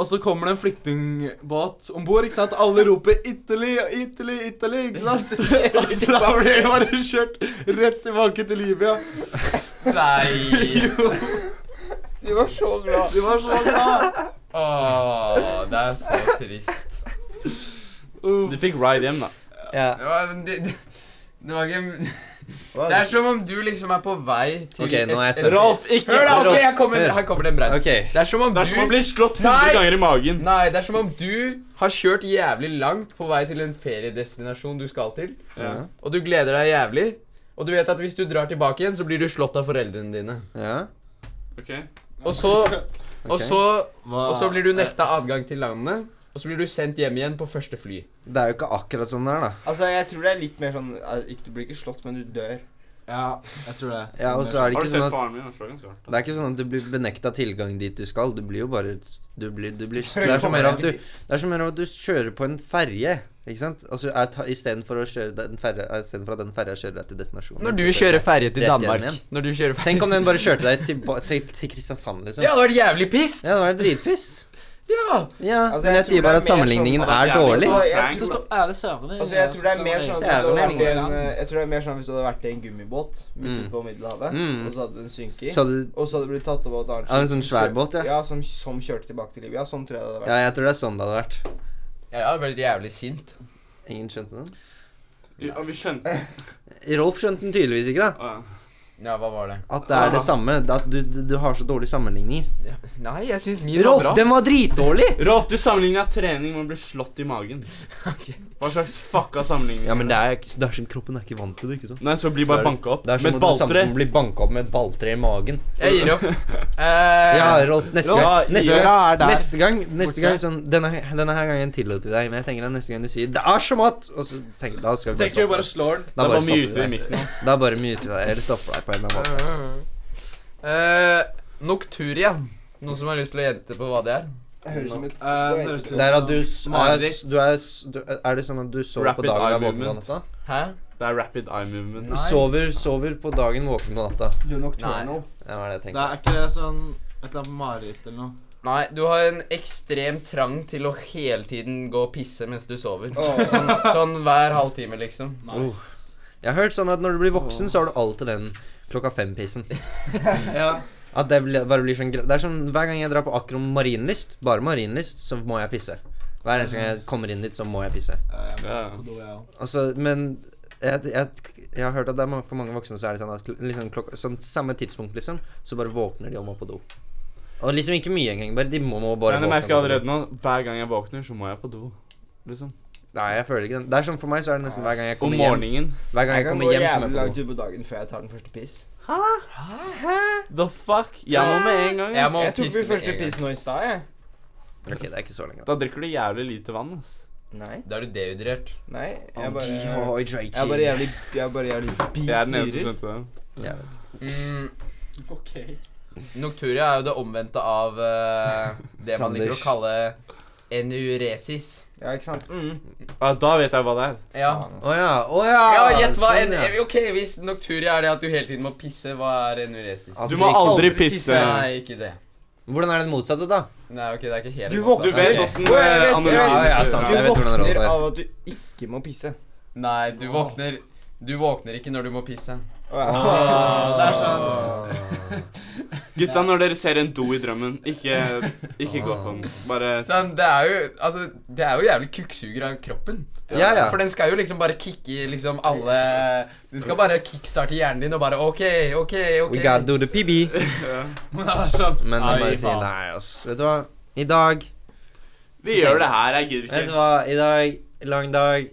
Speaker 5: Og så kommer det en flyktningbåt om bord, ikke sant? Alle roper 'Italy, Italy, Italy', ikke sant? Og så blir det bare kjørt rett tilbake til Libya.
Speaker 3: Nei
Speaker 1: De var så glad.
Speaker 5: De var så glad.
Speaker 3: Åh, det er så trist.
Speaker 5: Uff.
Speaker 2: De fikk ride hjem, da.
Speaker 4: Ja.
Speaker 3: Det var, det, det, det var ikke Det er som om du liksom er på vei til
Speaker 4: Ok, nå er jeg
Speaker 3: et-
Speaker 4: spent.
Speaker 3: et-
Speaker 2: Rolf, ikke
Speaker 3: Hør, da! ok,
Speaker 2: Rolf.
Speaker 3: her kommer, her kommer det en brein.
Speaker 4: Ok.
Speaker 3: Det er som om
Speaker 2: Det er som å
Speaker 3: du
Speaker 2: bli slått 100
Speaker 3: Nei!
Speaker 2: ganger i magen.
Speaker 3: Nei, det er som om du har kjørt jævlig langt på vei til en feriedestinasjon du skal til,
Speaker 2: Ja.
Speaker 3: og du gleder deg jævlig, og du vet at hvis du drar tilbake igjen, så blir du slått av foreldrene dine.
Speaker 4: Ja.
Speaker 2: Ok.
Speaker 3: Og så, og
Speaker 4: Ok.
Speaker 3: så, og så blir du nekta adgang til landet, og så blir du sendt hjem igjen på første fly.
Speaker 4: Det er jo ikke akkurat sånn det er, da.
Speaker 1: Altså, jeg tror det er litt mer sånn eh, ikke- Du blir ikke slått, men du dør.
Speaker 5: Ja, jeg tror det.
Speaker 4: Ja, og så
Speaker 2: Har
Speaker 4: er det
Speaker 2: du
Speaker 4: ikke sånn
Speaker 2: sett
Speaker 4: at
Speaker 2: faren min? Han slår ganske hardt.
Speaker 4: Det er ikke sånn at du blir benekta tilgang dit du skal. Du blir jo bare du blir, du blir,
Speaker 1: For å
Speaker 4: Det er så
Speaker 1: komme
Speaker 4: mer av at
Speaker 1: deg
Speaker 4: du Det er så mer av at du kjører på en ferje, ikke sant? Altså er ta- istedenfor å kjøre den ferja Istedenfor at den ferja kjører deg til destinasjonen.
Speaker 3: Når du kjører ferje til
Speaker 4: Rett hjem
Speaker 3: Danmark
Speaker 4: igjen.
Speaker 3: Når du kjører ferje
Speaker 4: Tenk om den bare kjørte deg til, ba- til, til Kristiansand, liksom.
Speaker 3: Ja, det
Speaker 4: Ja,
Speaker 3: hadde vært jævlig pissed!
Speaker 4: det var dritpiss.
Speaker 3: Ja!
Speaker 4: Ja,
Speaker 1: Altså,
Speaker 4: men
Speaker 1: jeg
Speaker 4: jeg
Speaker 1: tror
Speaker 4: sier
Speaker 1: det
Speaker 4: bare
Speaker 1: er
Speaker 4: at
Speaker 1: mer
Speaker 4: sammenligningen
Speaker 1: sånn at
Speaker 4: er
Speaker 2: det er
Speaker 4: dårlig.
Speaker 1: Så jeg
Speaker 2: Nei,
Speaker 1: tror-
Speaker 5: Ærlig søren.
Speaker 1: Altså, jeg tror det er mer sånn at hvis du hadde vært i en, eh, Jeg tror det er mer sånn hvis du hadde vært i en gummibåt midt
Speaker 4: Mm.
Speaker 1: ute på Middelhavet,
Speaker 4: Mm.
Speaker 1: og så hadde den synket,
Speaker 4: Så du
Speaker 1: og så hadde det blitt tatt over av et annet
Speaker 4: Av en sånn svær båt, ja.
Speaker 1: ja som, som kjørte tilbake til Libya. Sånn tror jeg det hadde vært.
Speaker 4: Ja, jeg tror det er sånn det hadde vært.
Speaker 3: Jeg hadde vært jævlig sint.
Speaker 4: Ingen skjønte den?
Speaker 2: Ja, vi skjønte
Speaker 4: Rolf skjønte den tydeligvis ikke, da.
Speaker 2: Å, ja.
Speaker 3: Ja, hva var det?
Speaker 4: At det er det samme. At du, du, du har så dårlige sammenligninger.
Speaker 3: Nei, jeg syns min var
Speaker 4: Rolf,
Speaker 3: bra.
Speaker 4: den var dritdårlig!
Speaker 2: Rolf, du sammenligna trening med å bli slått i magen. Hva slags fucka sammenligning?
Speaker 4: Ja, men det er, ikke- det er sånn kroppen er ikke vant til det, ikke sant?
Speaker 2: Nei, så blir
Speaker 4: Så
Speaker 2: bare
Speaker 4: er det-
Speaker 2: banka opp
Speaker 4: Det er som
Speaker 2: med
Speaker 4: om
Speaker 2: et
Speaker 4: du samtidig
Speaker 2: balltre.
Speaker 4: blir banka opp med et balltre i magen.
Speaker 3: Jeg gir opp.
Speaker 4: Ja,
Speaker 3: Eh,
Speaker 4: Rolf, neste
Speaker 2: Ja,
Speaker 4: gang. Neste
Speaker 2: ja.
Speaker 4: gang.
Speaker 5: er der.
Speaker 4: Neste gang, neste gang sånn, denne, denne her gangen tillater vi deg, men jeg tenker at neste gang du sier 'det er som at' Og så tenk, da skal vi bare
Speaker 5: Tenker vi
Speaker 4: stoppe
Speaker 5: bare
Speaker 4: deg.
Speaker 5: slår den.
Speaker 4: Da
Speaker 2: Da
Speaker 4: bare
Speaker 2: bare
Speaker 4: stopper
Speaker 2: muter vi
Speaker 4: vi deg.
Speaker 2: mikken hans.
Speaker 4: Da bare muter vi deg, eller stopper deg på en eller annen måte.
Speaker 3: eh, Nocturia. Noen som har lyst til å gjette på hva det er?
Speaker 1: Det høres ut som et
Speaker 5: Eh, det høres ut-
Speaker 4: Det er at du s- er,
Speaker 5: Mareritt.
Speaker 4: du er, s- du, er det sånn at du sover på
Speaker 2: Rapid
Speaker 4: dagen
Speaker 2: eye
Speaker 4: og er våken på
Speaker 2: movement.
Speaker 4: natta?
Speaker 3: Hæ?
Speaker 2: Det er rapid eye movement.
Speaker 4: Du
Speaker 3: Nei.
Speaker 4: sover, sover på dagen, våken på natta.
Speaker 1: Du er nocturnal.
Speaker 4: Det var det jeg
Speaker 5: Det
Speaker 4: tenkte.
Speaker 5: er ikke det sånn et eller annet mareritt eller noe.
Speaker 3: Nei, du har en ekstrem trang til å hele tiden gå og pisse mens du sover.
Speaker 1: Åh.
Speaker 3: Sånn, sånn hver halvtime, liksom.
Speaker 5: Nice.
Speaker 4: Jeg har hørt sånn at når du blir voksen, så har du alltid den klokka fem-pissen.
Speaker 5: Ja.
Speaker 4: At det blir, bare blir sånn gre- Det er sånn hver gang jeg drar på Akron marinlyst, bare marinlyst, så må jeg pisse. Hver eneste gang jeg kommer inn dit, så må jeg pisse.
Speaker 5: Ja, jeg må
Speaker 2: Ja.
Speaker 5: på do, jeg òg.
Speaker 4: Altså, men jeg, jeg, jeg har hørt at det er ma- for mange voksne så er det sånn at kl- liksom klokka, sånn samme tidspunkt, liksom, så bare våkner de og må på do. Og liksom ikke mye engang. Bare, de må, må bare
Speaker 2: Men jeg merker
Speaker 4: og må på do.
Speaker 2: allerede nå hver gang jeg våkner, så må jeg på do. Liksom.
Speaker 4: Nei, jeg føler ikke den. Det er sånn for meg, så er det nesten hver gang jeg
Speaker 2: Om
Speaker 4: kommer hjem.
Speaker 2: morgenen.
Speaker 4: Hver gang
Speaker 1: Jeg
Speaker 4: jeg
Speaker 1: kan
Speaker 4: kommer
Speaker 1: gå
Speaker 4: hjem, så
Speaker 1: jævlig
Speaker 4: må jeg på
Speaker 1: langt
Speaker 4: do.
Speaker 1: ut på dagen før jeg tar den første piss.
Speaker 2: The fuck? Jeg må med en gang.
Speaker 3: Jeg
Speaker 2: ass.
Speaker 3: må
Speaker 1: Jeg tok
Speaker 3: pisse
Speaker 1: min
Speaker 3: med
Speaker 1: første
Speaker 3: en gang.
Speaker 1: piss nå i stad, jeg.
Speaker 4: Ok, det er ikke så lenge, da.
Speaker 2: Da drikker du jævlig lite vann, ass.
Speaker 1: Nei.
Speaker 3: Da er du dehydrert.
Speaker 1: Nei. Jeg
Speaker 4: I'm
Speaker 1: bare Jeg
Speaker 4: dehydrated.
Speaker 1: er bare jævlig Jeg er bare jævlig
Speaker 2: Jeg er den eneste
Speaker 1: bisnyrer.
Speaker 2: som skjønte det.
Speaker 4: Jeg vet.
Speaker 3: Mm,
Speaker 5: Ok.
Speaker 3: Nocturia er jo det omvendte av eh, det man liker å
Speaker 4: Sanders.
Speaker 3: kalle enuresis.
Speaker 1: Ja, ikke sant? Mm.
Speaker 2: Ja, da vet jeg hva det er.
Speaker 3: Ja.
Speaker 1: Faen, ass.
Speaker 4: Å ja, å ja!
Speaker 3: Ja, gjett hva
Speaker 4: sånn,
Speaker 3: en, eh,
Speaker 4: ja.
Speaker 3: Ok, hvis nocturia er det at du hele tiden må pisse, hva er enuresis?
Speaker 4: At eh,
Speaker 2: Du må
Speaker 4: drikker
Speaker 2: aldri pisse.
Speaker 3: Nei, ikke det.
Speaker 4: Hvordan er det motsatte, da?
Speaker 3: Nei, ok, det er ikke helt
Speaker 1: Du
Speaker 3: motsatt.
Speaker 2: Du vet eh,
Speaker 3: Ok.
Speaker 2: åssen
Speaker 1: Å, jeg vet, jeg
Speaker 2: anonym
Speaker 1: vet.
Speaker 4: Ja, ja, sant.
Speaker 1: Du
Speaker 4: Jeg vet hvordan det
Speaker 1: våkner
Speaker 4: er.
Speaker 1: av at du ikke må pisse.
Speaker 3: Nei, du våkner
Speaker 5: Ah,
Speaker 3: Du våkner ikke når du må pisse.
Speaker 1: Å, ja.
Speaker 5: Det er sånn
Speaker 2: Gutta, når dere ser en do i drømmen, ikke, ikke gå på den. Bare
Speaker 3: Sånn, det er jo Altså, det er jo jævlig kukksuger av kroppen.
Speaker 4: Ja, ja.
Speaker 3: For den skal jo liksom bare kicke i liksom alle Du skal bare kickstarte hjernen din og bare OK, OK, OK.
Speaker 4: We gotta do the PB.
Speaker 5: Ja, sant.
Speaker 4: Men
Speaker 5: Ai,
Speaker 4: jeg bare sier
Speaker 5: faen.
Speaker 4: nei, ass. Vet du hva? I dag
Speaker 2: Vi gjør det her, jeg
Speaker 4: Vet
Speaker 2: gidder
Speaker 4: du
Speaker 2: ikke.
Speaker 4: hva? I dag, lang dag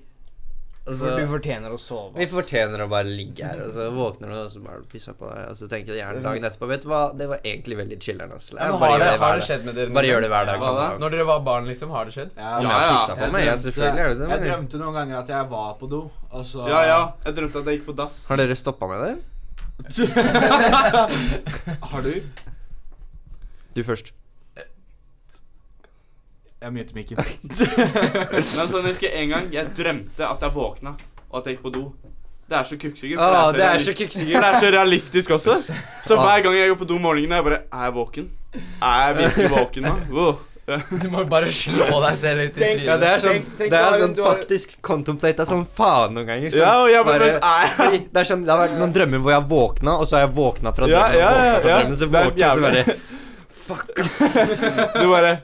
Speaker 4: og så,
Speaker 1: For Altså, du fortjener å sove.
Speaker 4: Vi
Speaker 1: ass.
Speaker 4: fortjener å bare ligge her, og så våkner du, og så bare pisser på deg, og så tenker du gjerne
Speaker 1: sånn-
Speaker 4: dagen etterpå Vet du hva, det var egentlig veldig chiller'n, ass.
Speaker 3: Ja,
Speaker 4: Jeg
Speaker 3: men
Speaker 4: bare
Speaker 3: har,
Speaker 4: gjør
Speaker 3: det,
Speaker 4: det
Speaker 3: har
Speaker 4: hver
Speaker 3: det
Speaker 4: dag.
Speaker 3: skjedd med dere
Speaker 4: Bare gjør det hver dag.
Speaker 3: gang?
Speaker 4: Sånn.
Speaker 2: Hva
Speaker 4: dag.
Speaker 3: Når dere var barn, liksom? Har det skjedd?
Speaker 4: Om
Speaker 5: Ja,
Speaker 2: Ja,
Speaker 4: jeg har
Speaker 2: ja.
Speaker 4: pissa på
Speaker 5: Jeg
Speaker 4: meg? Ja,
Speaker 5: drømte-
Speaker 4: selvfølgelig er det det.
Speaker 5: Jeg
Speaker 4: men-
Speaker 5: drømte noen ganger at jeg var på do, og så
Speaker 2: Ja, ja. Jeg drømte at jeg gikk på dass.
Speaker 4: Har dere stoppa med det?
Speaker 5: Har du?
Speaker 4: Du først.
Speaker 5: Jeg mute mikken.
Speaker 2: Men sånn, jeg husker en gang jeg drømte at jeg våkna, og at jeg gikk på do. Det er så kukksuger.
Speaker 4: Å,
Speaker 2: for
Speaker 4: Ah, det er så
Speaker 2: realis-
Speaker 4: kukksuger.
Speaker 2: for det er så realistisk også. Så
Speaker 4: Ah.
Speaker 2: hver gang jeg går på do om morgenen, er jeg bare Er jeg våken? Er jeg virkelig våken nå? Wow.
Speaker 3: Du må bare slå deg selv litt i
Speaker 1: Tenk-
Speaker 4: Ja, det
Speaker 3: trynet.
Speaker 4: er sånn,
Speaker 1: Tenk- tenk
Speaker 4: det
Speaker 1: du
Speaker 4: er
Speaker 1: har-
Speaker 4: sånn
Speaker 1: du har-
Speaker 4: faktisk contemplate som faen noen ganger. sånn,
Speaker 2: Ja, og jeg bare,
Speaker 4: bare-
Speaker 2: men, er jeg
Speaker 4: Fordi Det er sånn, det har vært noen drømmer hvor jeg våkna, og så har jeg våkna fra
Speaker 2: Ja,
Speaker 4: drømmen,
Speaker 2: ja,
Speaker 4: og våkna fra
Speaker 2: ja,
Speaker 4: drømmen, så
Speaker 2: det er
Speaker 4: våkner jeg så
Speaker 2: jævlig.
Speaker 4: bare Fuck, ass.
Speaker 2: Du bare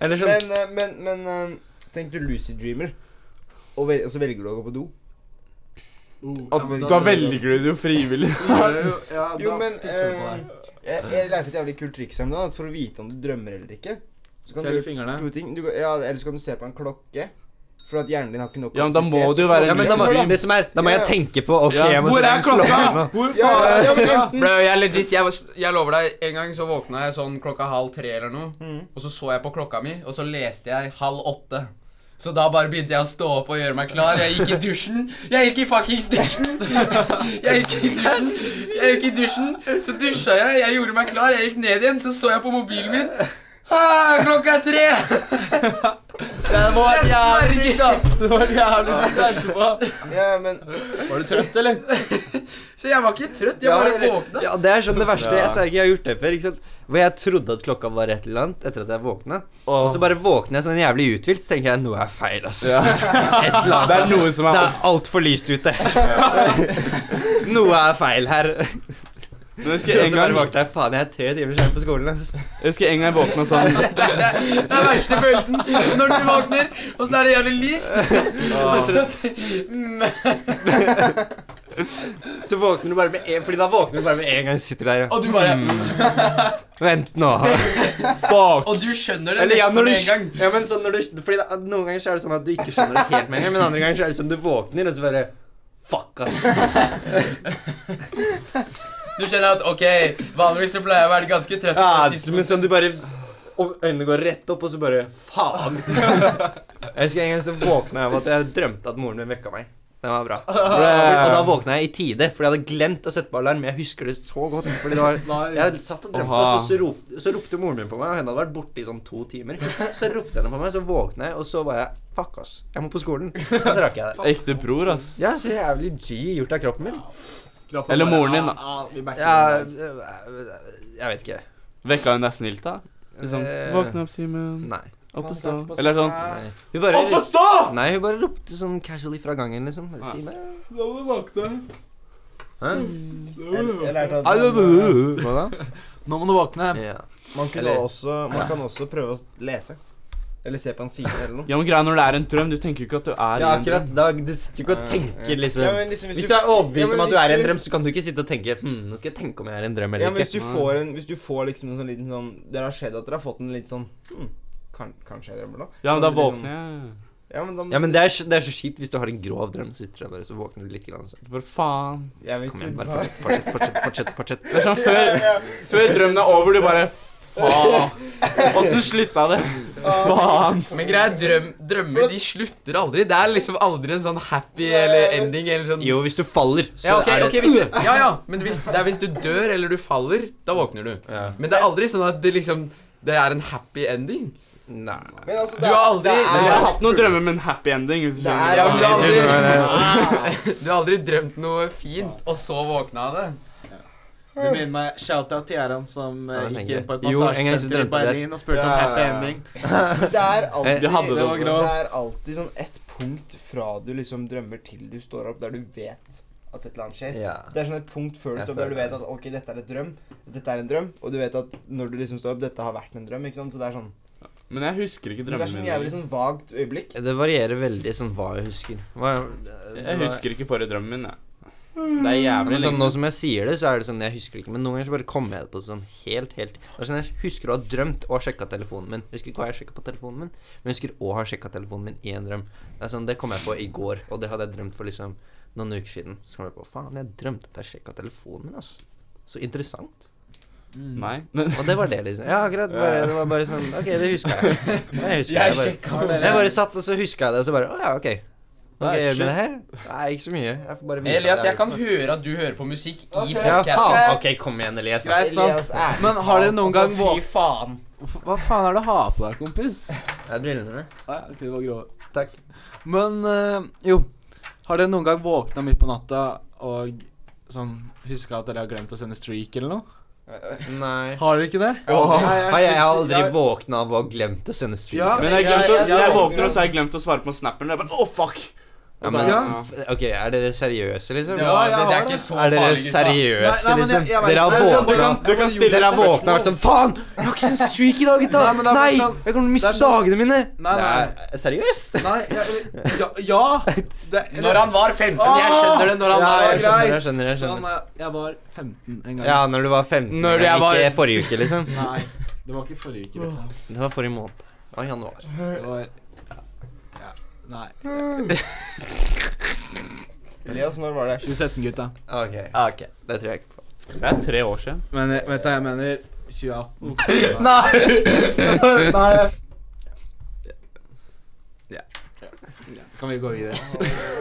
Speaker 4: Eller sånn
Speaker 1: Men, eh, men, men eh, tenk du Lucy Dreamer, og, vel, og så velger du å gå på do.
Speaker 5: Oh,
Speaker 2: at,
Speaker 5: ja, men
Speaker 2: Da velger du det jo frivillig.
Speaker 5: Ja, da
Speaker 1: Jo, men
Speaker 5: pisser du på
Speaker 1: eh, jeg,
Speaker 5: deg.
Speaker 1: jeg lærte et jævlig kult triks her om dagen. at For å vite om du drømmer eller ikke. Så kan du
Speaker 5: Tell
Speaker 1: gjøre
Speaker 5: fingrene.
Speaker 1: to ting. Du, kan- ja, eller så kan du se på en klokke. For at hjernen din har ikke nok
Speaker 2: Ja, men da må
Speaker 1: kapasitet.
Speaker 2: det jo være
Speaker 4: ja, men da, må,
Speaker 1: Hør da.
Speaker 4: det som er, da må jeg tenke på OK,
Speaker 2: Ja,
Speaker 4: jeg må
Speaker 2: hvor
Speaker 4: se
Speaker 2: er
Speaker 4: en
Speaker 2: klokka?
Speaker 4: nå.
Speaker 5: Hvor
Speaker 1: Ja,
Speaker 5: faen?
Speaker 1: ja, ja, men enten
Speaker 3: Mm. Bro, jeg legit, jeg, var- jeg lover deg, en gang så våkna jeg sånn klokka halv tre eller noe,
Speaker 1: Mm.
Speaker 3: og så så jeg på klokka mi, og så leste jeg halv åtte. Så da bare begynte jeg å stå opp og gjøre meg klar. Jeg gikk i dusjen. Jeg gikk i fuckings dusjen. Jeg gikk i dusjen. Jeg gikk i dusjen. Så dusja jeg, jeg gjorde meg klar, jeg gikk ned igjen, så så jeg på mobilen min. Ah, klokka er tre!
Speaker 5: Det var
Speaker 3: Jeg
Speaker 5: jævlig
Speaker 3: sverger.
Speaker 5: digg, da. Det var jævlig digg etterpå.
Speaker 1: Ja, men
Speaker 5: Var du trøtt, eller?
Speaker 3: Så jeg var ikke trøtt, jeg
Speaker 4: Ja,
Speaker 3: bare
Speaker 4: eller-
Speaker 3: våkna.
Speaker 4: ja, det er sånn det verste. Jeg sa ikke jeg har gjort det før. ikke sant? Hvor jeg trodde at klokka var et eller annet etter at jeg våkna. Og så bare våkner jeg sånn jævlig uthvilt, så tenker jeg noe er feil, ass.
Speaker 2: Ja.
Speaker 4: Et eller annet.
Speaker 2: Det er noe som
Speaker 4: Det
Speaker 2: er
Speaker 4: er altfor lyst ute. noe er feil her.
Speaker 2: Men jeg husker
Speaker 4: Og
Speaker 2: en
Speaker 4: så bare
Speaker 2: gang
Speaker 4: våkner jeg faen, jeg er tre timer sen på skolen. altså. ass.
Speaker 2: Jeg husker en gang jeg våkna sånn
Speaker 3: Det er verste følelsen når du våkner, og så er det jævlig lyst. Så, så, mm.
Speaker 4: Så våkner du bare med en, fordi da våkner du bare med en gang du sitter der og
Speaker 3: Og du bare
Speaker 4: Mm. Vent nå.
Speaker 2: bak
Speaker 3: Og du skjønner det
Speaker 4: Eller ja,
Speaker 3: nesten
Speaker 4: når du,
Speaker 3: med en gang.
Speaker 4: ja, men sånn når du Fordi da, noen ganger så er det sånn at du ikke skjønner det helt med en gang, men andre ganger så er det sånn du våkner, og så bare Fuck, ass.
Speaker 3: Du skjønner at ok, vanligvis så pleier jeg å være ganske trøtt. på
Speaker 4: Ja,
Speaker 3: det
Speaker 4: men
Speaker 3: tidspunktet.
Speaker 4: sånn du bare og Øynene går rett opp, og så bare Faen. Jeg husker en gang så våkna jeg av at jeg drømte at moren min vekka meg. Den var bra. Og da våkna jeg i tide, for jeg hadde glemt å sette på alarm. Jeg husker det så godt. Fordi det var Jeg satt og drømte,
Speaker 2: Oha.
Speaker 4: og så, rop, så ropte moren min på meg. Og henne hadde vært borte i sånn to timer. Så ropte henne på meg, så våkna jeg, og så var jeg Fuck, ass. Jeg må på skolen. Og så rakk jeg det.
Speaker 2: Ekte bror, ass.
Speaker 4: Ja, så jævlig G gjort av kroppen min.
Speaker 5: Kroppen
Speaker 2: Eller
Speaker 5: bare,
Speaker 2: moren din,
Speaker 5: ah,
Speaker 2: da.
Speaker 5: ah, vi backer
Speaker 4: Ja,
Speaker 5: den der.
Speaker 4: jeg vet ikke.
Speaker 2: Vekka hun deg snilt, da? Liksom
Speaker 4: Eh,
Speaker 2: Våkne opp, Simen.
Speaker 4: Nei.
Speaker 2: Opp og
Speaker 5: Kan
Speaker 2: stå.
Speaker 5: snakke på
Speaker 2: Eller sånn
Speaker 5: sånn.
Speaker 4: nei. Hun bare
Speaker 2: stå!
Speaker 4: Nei, hun bare ropte sånn casually fra gangen, liksom. Bare, Si meg.
Speaker 5: La meg våkne.
Speaker 4: Hæ?
Speaker 1: jeg, jeg lærte at man,
Speaker 4: Hva da?
Speaker 5: Nå må du våkne.
Speaker 4: Ja.
Speaker 1: man, kunne
Speaker 4: Eller-
Speaker 1: også, man kan også prøve å lese. Eller se på en side eller noe.
Speaker 2: Ja, men greia når det er en drøm, du tenker jo ikke at du er
Speaker 4: ja,
Speaker 2: i en
Speaker 4: akkurat.
Speaker 2: drøm.
Speaker 4: Da, du sitter ikke og tenker,
Speaker 1: Ja,
Speaker 4: liksom.
Speaker 1: men liksom
Speaker 4: Hvis du er overbevist
Speaker 1: Ja, men
Speaker 4: om at du
Speaker 1: hvis
Speaker 4: er i en drøm, Mm. så kan du ikke sitte og tenke hm, nå skal jeg tenke om jeg er i en drøm
Speaker 1: Ja,
Speaker 4: eller
Speaker 1: men hvis
Speaker 4: ikke.
Speaker 1: du får en Hvis du får liksom en sånn liten sånn Det har skjedd at dere har fått en litt sånn hm, kan, Kanskje jeg drømmer nå?
Speaker 2: Ja, men da
Speaker 1: Kan du liksom-
Speaker 2: våkner jeg.
Speaker 1: Ja, men da
Speaker 4: Ja, men det er, så- det er så kjipt hvis du har en grov drøm, så sitter du der og så våkner du litt. Grann, så.
Speaker 2: Bare faen.
Speaker 1: jeg vet
Speaker 4: Kom igjen,
Speaker 1: ikke
Speaker 4: bare
Speaker 1: hva-
Speaker 4: fortsett, fortsett, fortsett. fortsett, fortsett.
Speaker 2: Det er sånn før, før drømmen er over, du bare Faen. Åssen slutta det? Faen.
Speaker 3: Men greia er, drøm, drømmer de slutter aldri. Det er liksom aldri en sånn happy eller ending eller sånn
Speaker 4: Jo, hvis du faller, så
Speaker 3: ja, ok,
Speaker 4: er det
Speaker 3: ok, hvis, ja, ja, men hvis, det er hvis du dør eller du faller, da våkner du.
Speaker 4: Ja.
Speaker 3: Men det er aldri sånn at det liksom Det er en happy ending.
Speaker 4: Nei.
Speaker 1: Men altså,
Speaker 3: Du har aldri-
Speaker 1: det
Speaker 2: Jeg har
Speaker 1: er,
Speaker 2: hatt noen drømmer med en happy ending. Hvis du
Speaker 1: det er
Speaker 2: skjønner.
Speaker 3: Ja, men du har
Speaker 1: aldri-
Speaker 3: aldri, du har aldri drømt noe fint, og så våkna av det.
Speaker 5: Det minner meg Shout-out til Gjerand som eh,
Speaker 4: Ja, det
Speaker 5: gikk
Speaker 4: tenker
Speaker 5: inn på et
Speaker 4: jeg. Jo, en gang så
Speaker 5: massasjesenter
Speaker 4: drømte
Speaker 5: i
Speaker 4: jeg det.
Speaker 5: Berlin og spurte
Speaker 2: Ja,
Speaker 5: om
Speaker 2: ja,
Speaker 5: happy
Speaker 2: ja.
Speaker 5: ending.
Speaker 1: det er alltid
Speaker 2: Du hadde det
Speaker 5: Det var
Speaker 2: også.
Speaker 5: grovt.
Speaker 1: Det er alltid sånn ett punkt fra du liksom drømmer til du står opp, der du vet at at et eller annet skjer.
Speaker 4: Ja.
Speaker 1: Det er sånn et punkt før du
Speaker 4: Jeg
Speaker 1: står opp der du
Speaker 4: føler
Speaker 1: vet at ok, dette er et drøm, dette er en drøm, og du vet at når du liksom står opp, dette har vært en drøm, ikke sant. Så det er sånn
Speaker 2: Men jeg husker ikke
Speaker 1: Det er
Speaker 2: drømmene
Speaker 1: sånn
Speaker 2: mine.
Speaker 1: jævlig sånn vagt øyeblikk.
Speaker 4: Det varierer veldig sånn hva jeg husker. Hva,
Speaker 2: Jeg
Speaker 4: det- det-
Speaker 2: husker ikke forrige drømmen min, jeg. Det er jævlig
Speaker 4: Men sånn,
Speaker 2: lenge
Speaker 4: nå
Speaker 2: siden.
Speaker 4: som jeg sier det, så er det sånn Jeg husker ikke, men noen ganger så bare kommer jeg på sånn helt, helt Det er sånn Jeg husker å ha drømt og ha sjekka telefonen min. Husker ikke hva jeg sjekka på telefonen min, men husker å ha sjekka telefonen min i en drøm. Det er sånn, det kom jeg på i går, og det hadde jeg drømt for liksom noen uker siden. Så kom jeg på faen, jeg drømte at jeg sjekka telefonen min, altså. Så interessant.
Speaker 2: Nei. Men,
Speaker 4: Og det var det, liksom. Ja, akkurat. Bare, det var bare sånn Ok, det huska jeg. Det husker
Speaker 3: Jeg
Speaker 4: bare.
Speaker 3: sjekka det.
Speaker 4: Jeg bare satt, og så huska jeg det, og så bare Å ja, ok. Hva
Speaker 2: Nei,
Speaker 4: skal jeg gjøre
Speaker 2: shit.
Speaker 4: med det her? Nei, ikke så mye. Jeg får bare vite
Speaker 3: Elias,
Speaker 4: at
Speaker 3: jeg kan høre at du hører på musikk i
Speaker 1: Ok.
Speaker 4: Ja,
Speaker 3: podcasten.
Speaker 4: faen. Ok, kom igjen, Elias. da.
Speaker 5: Greit, sant?
Speaker 1: Elias er
Speaker 5: Men har dere noen gang
Speaker 1: altså,
Speaker 5: våk-
Speaker 1: Fy faen.
Speaker 5: Hva faen er det du har på deg, kompis?
Speaker 4: Det er brillene mine.
Speaker 5: Ah, ja, ok, det var grov.
Speaker 4: Takk.
Speaker 5: Men eh, jo, har dere noen gang våkna midt på natta og sånn huska at dere har glemt å sende streak eller noe?
Speaker 4: Nei.
Speaker 5: Har dere ikke det?
Speaker 3: Jeg har aldri-
Speaker 5: Nei,
Speaker 4: Har jeg aldri
Speaker 5: jeg-
Speaker 4: våkna av å ha glemt å sende stream?
Speaker 5: Ja.
Speaker 2: men jeg, glemte,
Speaker 1: Jeg- jeg-
Speaker 2: jeg, jeg våkner, og så har jeg glemt å svare på snapperen. og Jeg bare, Å, fuck!
Speaker 4: Ja,
Speaker 2: Og så-
Speaker 4: men,
Speaker 2: ja.
Speaker 4: Ok, er dere seriøse, liksom?
Speaker 3: Det, var,
Speaker 5: Ja,
Speaker 3: det,
Speaker 5: jeg
Speaker 3: det er
Speaker 5: har
Speaker 3: ikke
Speaker 5: det.
Speaker 3: så
Speaker 4: er dere
Speaker 3: farlig, gutta.
Speaker 4: seriøse,
Speaker 5: Nei, nei, men jeg-
Speaker 4: liksom?
Speaker 5: jeg vet
Speaker 4: dere har
Speaker 5: ikke. Det er sånn,
Speaker 2: Du
Speaker 4: våkna
Speaker 2: kan, du kan stille
Speaker 4: Dere har
Speaker 2: deg
Speaker 4: våkna og
Speaker 2: spørsmål.
Speaker 4: vært sånn Faen! Jeg har ikke sånn streak i dag, gutta!
Speaker 5: Nei, men det er
Speaker 4: Nei!
Speaker 5: sånn-
Speaker 4: Jeg kommer til å miste
Speaker 5: det er sånn-
Speaker 4: dagene mine!
Speaker 5: Nei, nei.
Speaker 4: Det er seriøst?
Speaker 5: Nei, jeg, ja, ja det,
Speaker 3: Når han var 15, jeg skjønner det når han
Speaker 5: Ja,
Speaker 3: var
Speaker 5: jeg skjønner,
Speaker 4: skjønner,
Speaker 5: jeg Sånn, eh, jeg var 15 en gang.
Speaker 4: Ja, når du var 15.
Speaker 3: Når jeg var-
Speaker 4: Ikke forrige uke, liksom.
Speaker 5: Nei, det var ikke forrige uke, liksom.
Speaker 4: Det var forrige måned. Det var januar.
Speaker 5: Det var ja, Nei.
Speaker 1: Elias, når var det?
Speaker 5: 2017, gutta.
Speaker 4: Ok,
Speaker 3: Ah, Ok.
Speaker 4: det tror jeg ikke på.
Speaker 2: Det er tre år siden.
Speaker 5: Men eh, vet du hva jeg mener? 2018. Kan vi gå videre?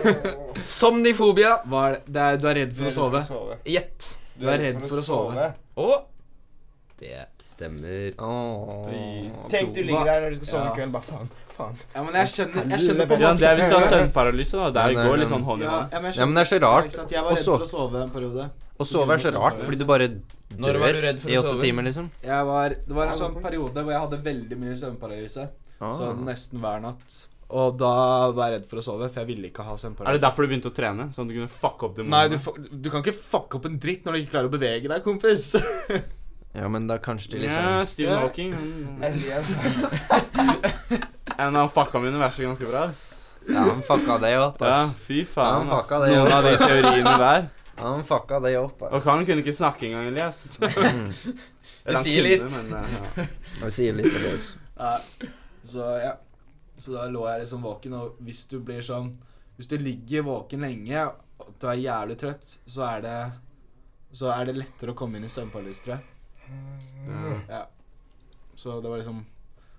Speaker 3: Somnifobia.
Speaker 5: Hva er det? det er, du er redd for å sove?
Speaker 3: Gjett.
Speaker 1: Du er redd for å sove.
Speaker 3: Og det stemmer.
Speaker 4: Åh.
Speaker 1: Tenk du ligger der når du skal sove
Speaker 5: Ja.
Speaker 1: en kveld, bare faen. faen.
Speaker 5: Ja, men jeg skjønner, jeg skjønner på
Speaker 2: Ja, det er hvis du har
Speaker 5: ja,
Speaker 2: søvnparalyse, da. Der
Speaker 4: Nei, nei,
Speaker 2: går
Speaker 4: nei.
Speaker 2: litt sånn hånd i hånd.
Speaker 5: ja, men jeg
Speaker 4: Ja, men
Speaker 5: skjønner.
Speaker 4: det er så rart.
Speaker 5: ikke sant? Jeg var redd
Speaker 4: Også-
Speaker 5: for å sove en periode.
Speaker 4: Å sove er så rart, fordi du bare
Speaker 3: Når var du
Speaker 4: dør
Speaker 3: redd for
Speaker 4: i
Speaker 3: å
Speaker 4: åtte
Speaker 3: sove?
Speaker 4: timer, liksom.
Speaker 5: Jeg var, det var en sånn periode hvor jeg hadde veldig mye søvnparalyse.
Speaker 4: Ah.
Speaker 5: Sånn nesten hver natt. Og da var jeg redd for å sove, for jeg ville ikke ha
Speaker 2: Er det
Speaker 5: søvnparalyse.
Speaker 2: derfor du begynte å trene? Sånn at du kunne fucke opp
Speaker 5: Nei, du,
Speaker 2: demonene?
Speaker 5: fa- du kan ikke fucke opp en dritt når du ikke klarer å bevege deg, kompis.
Speaker 4: Ja, men da kanskje de
Speaker 2: Ja,
Speaker 4: liksom
Speaker 2: Stephen Hawking. han-
Speaker 1: Altså, Elias,
Speaker 2: En av fucka mine verste ganske bra. ass.
Speaker 4: Ja, han fucka det opp,
Speaker 2: Ja,
Speaker 4: ass.
Speaker 2: fy
Speaker 4: Ja,
Speaker 2: faen.
Speaker 4: han
Speaker 2: ass.
Speaker 4: fucka det
Speaker 2: Noen
Speaker 4: opp.
Speaker 2: av de teoriene der.
Speaker 4: Han fucka det opp,
Speaker 2: Og
Speaker 4: ass.
Speaker 2: han kunne ikke snakke engang, Elias.
Speaker 4: Mm.
Speaker 2: Eller han kunne,
Speaker 3: sier litt.
Speaker 2: men, eh, ja.
Speaker 4: Jeg sier litt til oss.
Speaker 5: Ja. Så ja. Så da lå jeg liksom våken, og hvis du blir sånn Hvis du ligger våken lenge og du er jævlig trøtt, så er det Så er det lettere å komme inn i søvnparalyse, tror jeg.
Speaker 2: Ja.
Speaker 5: Ja. Så det var liksom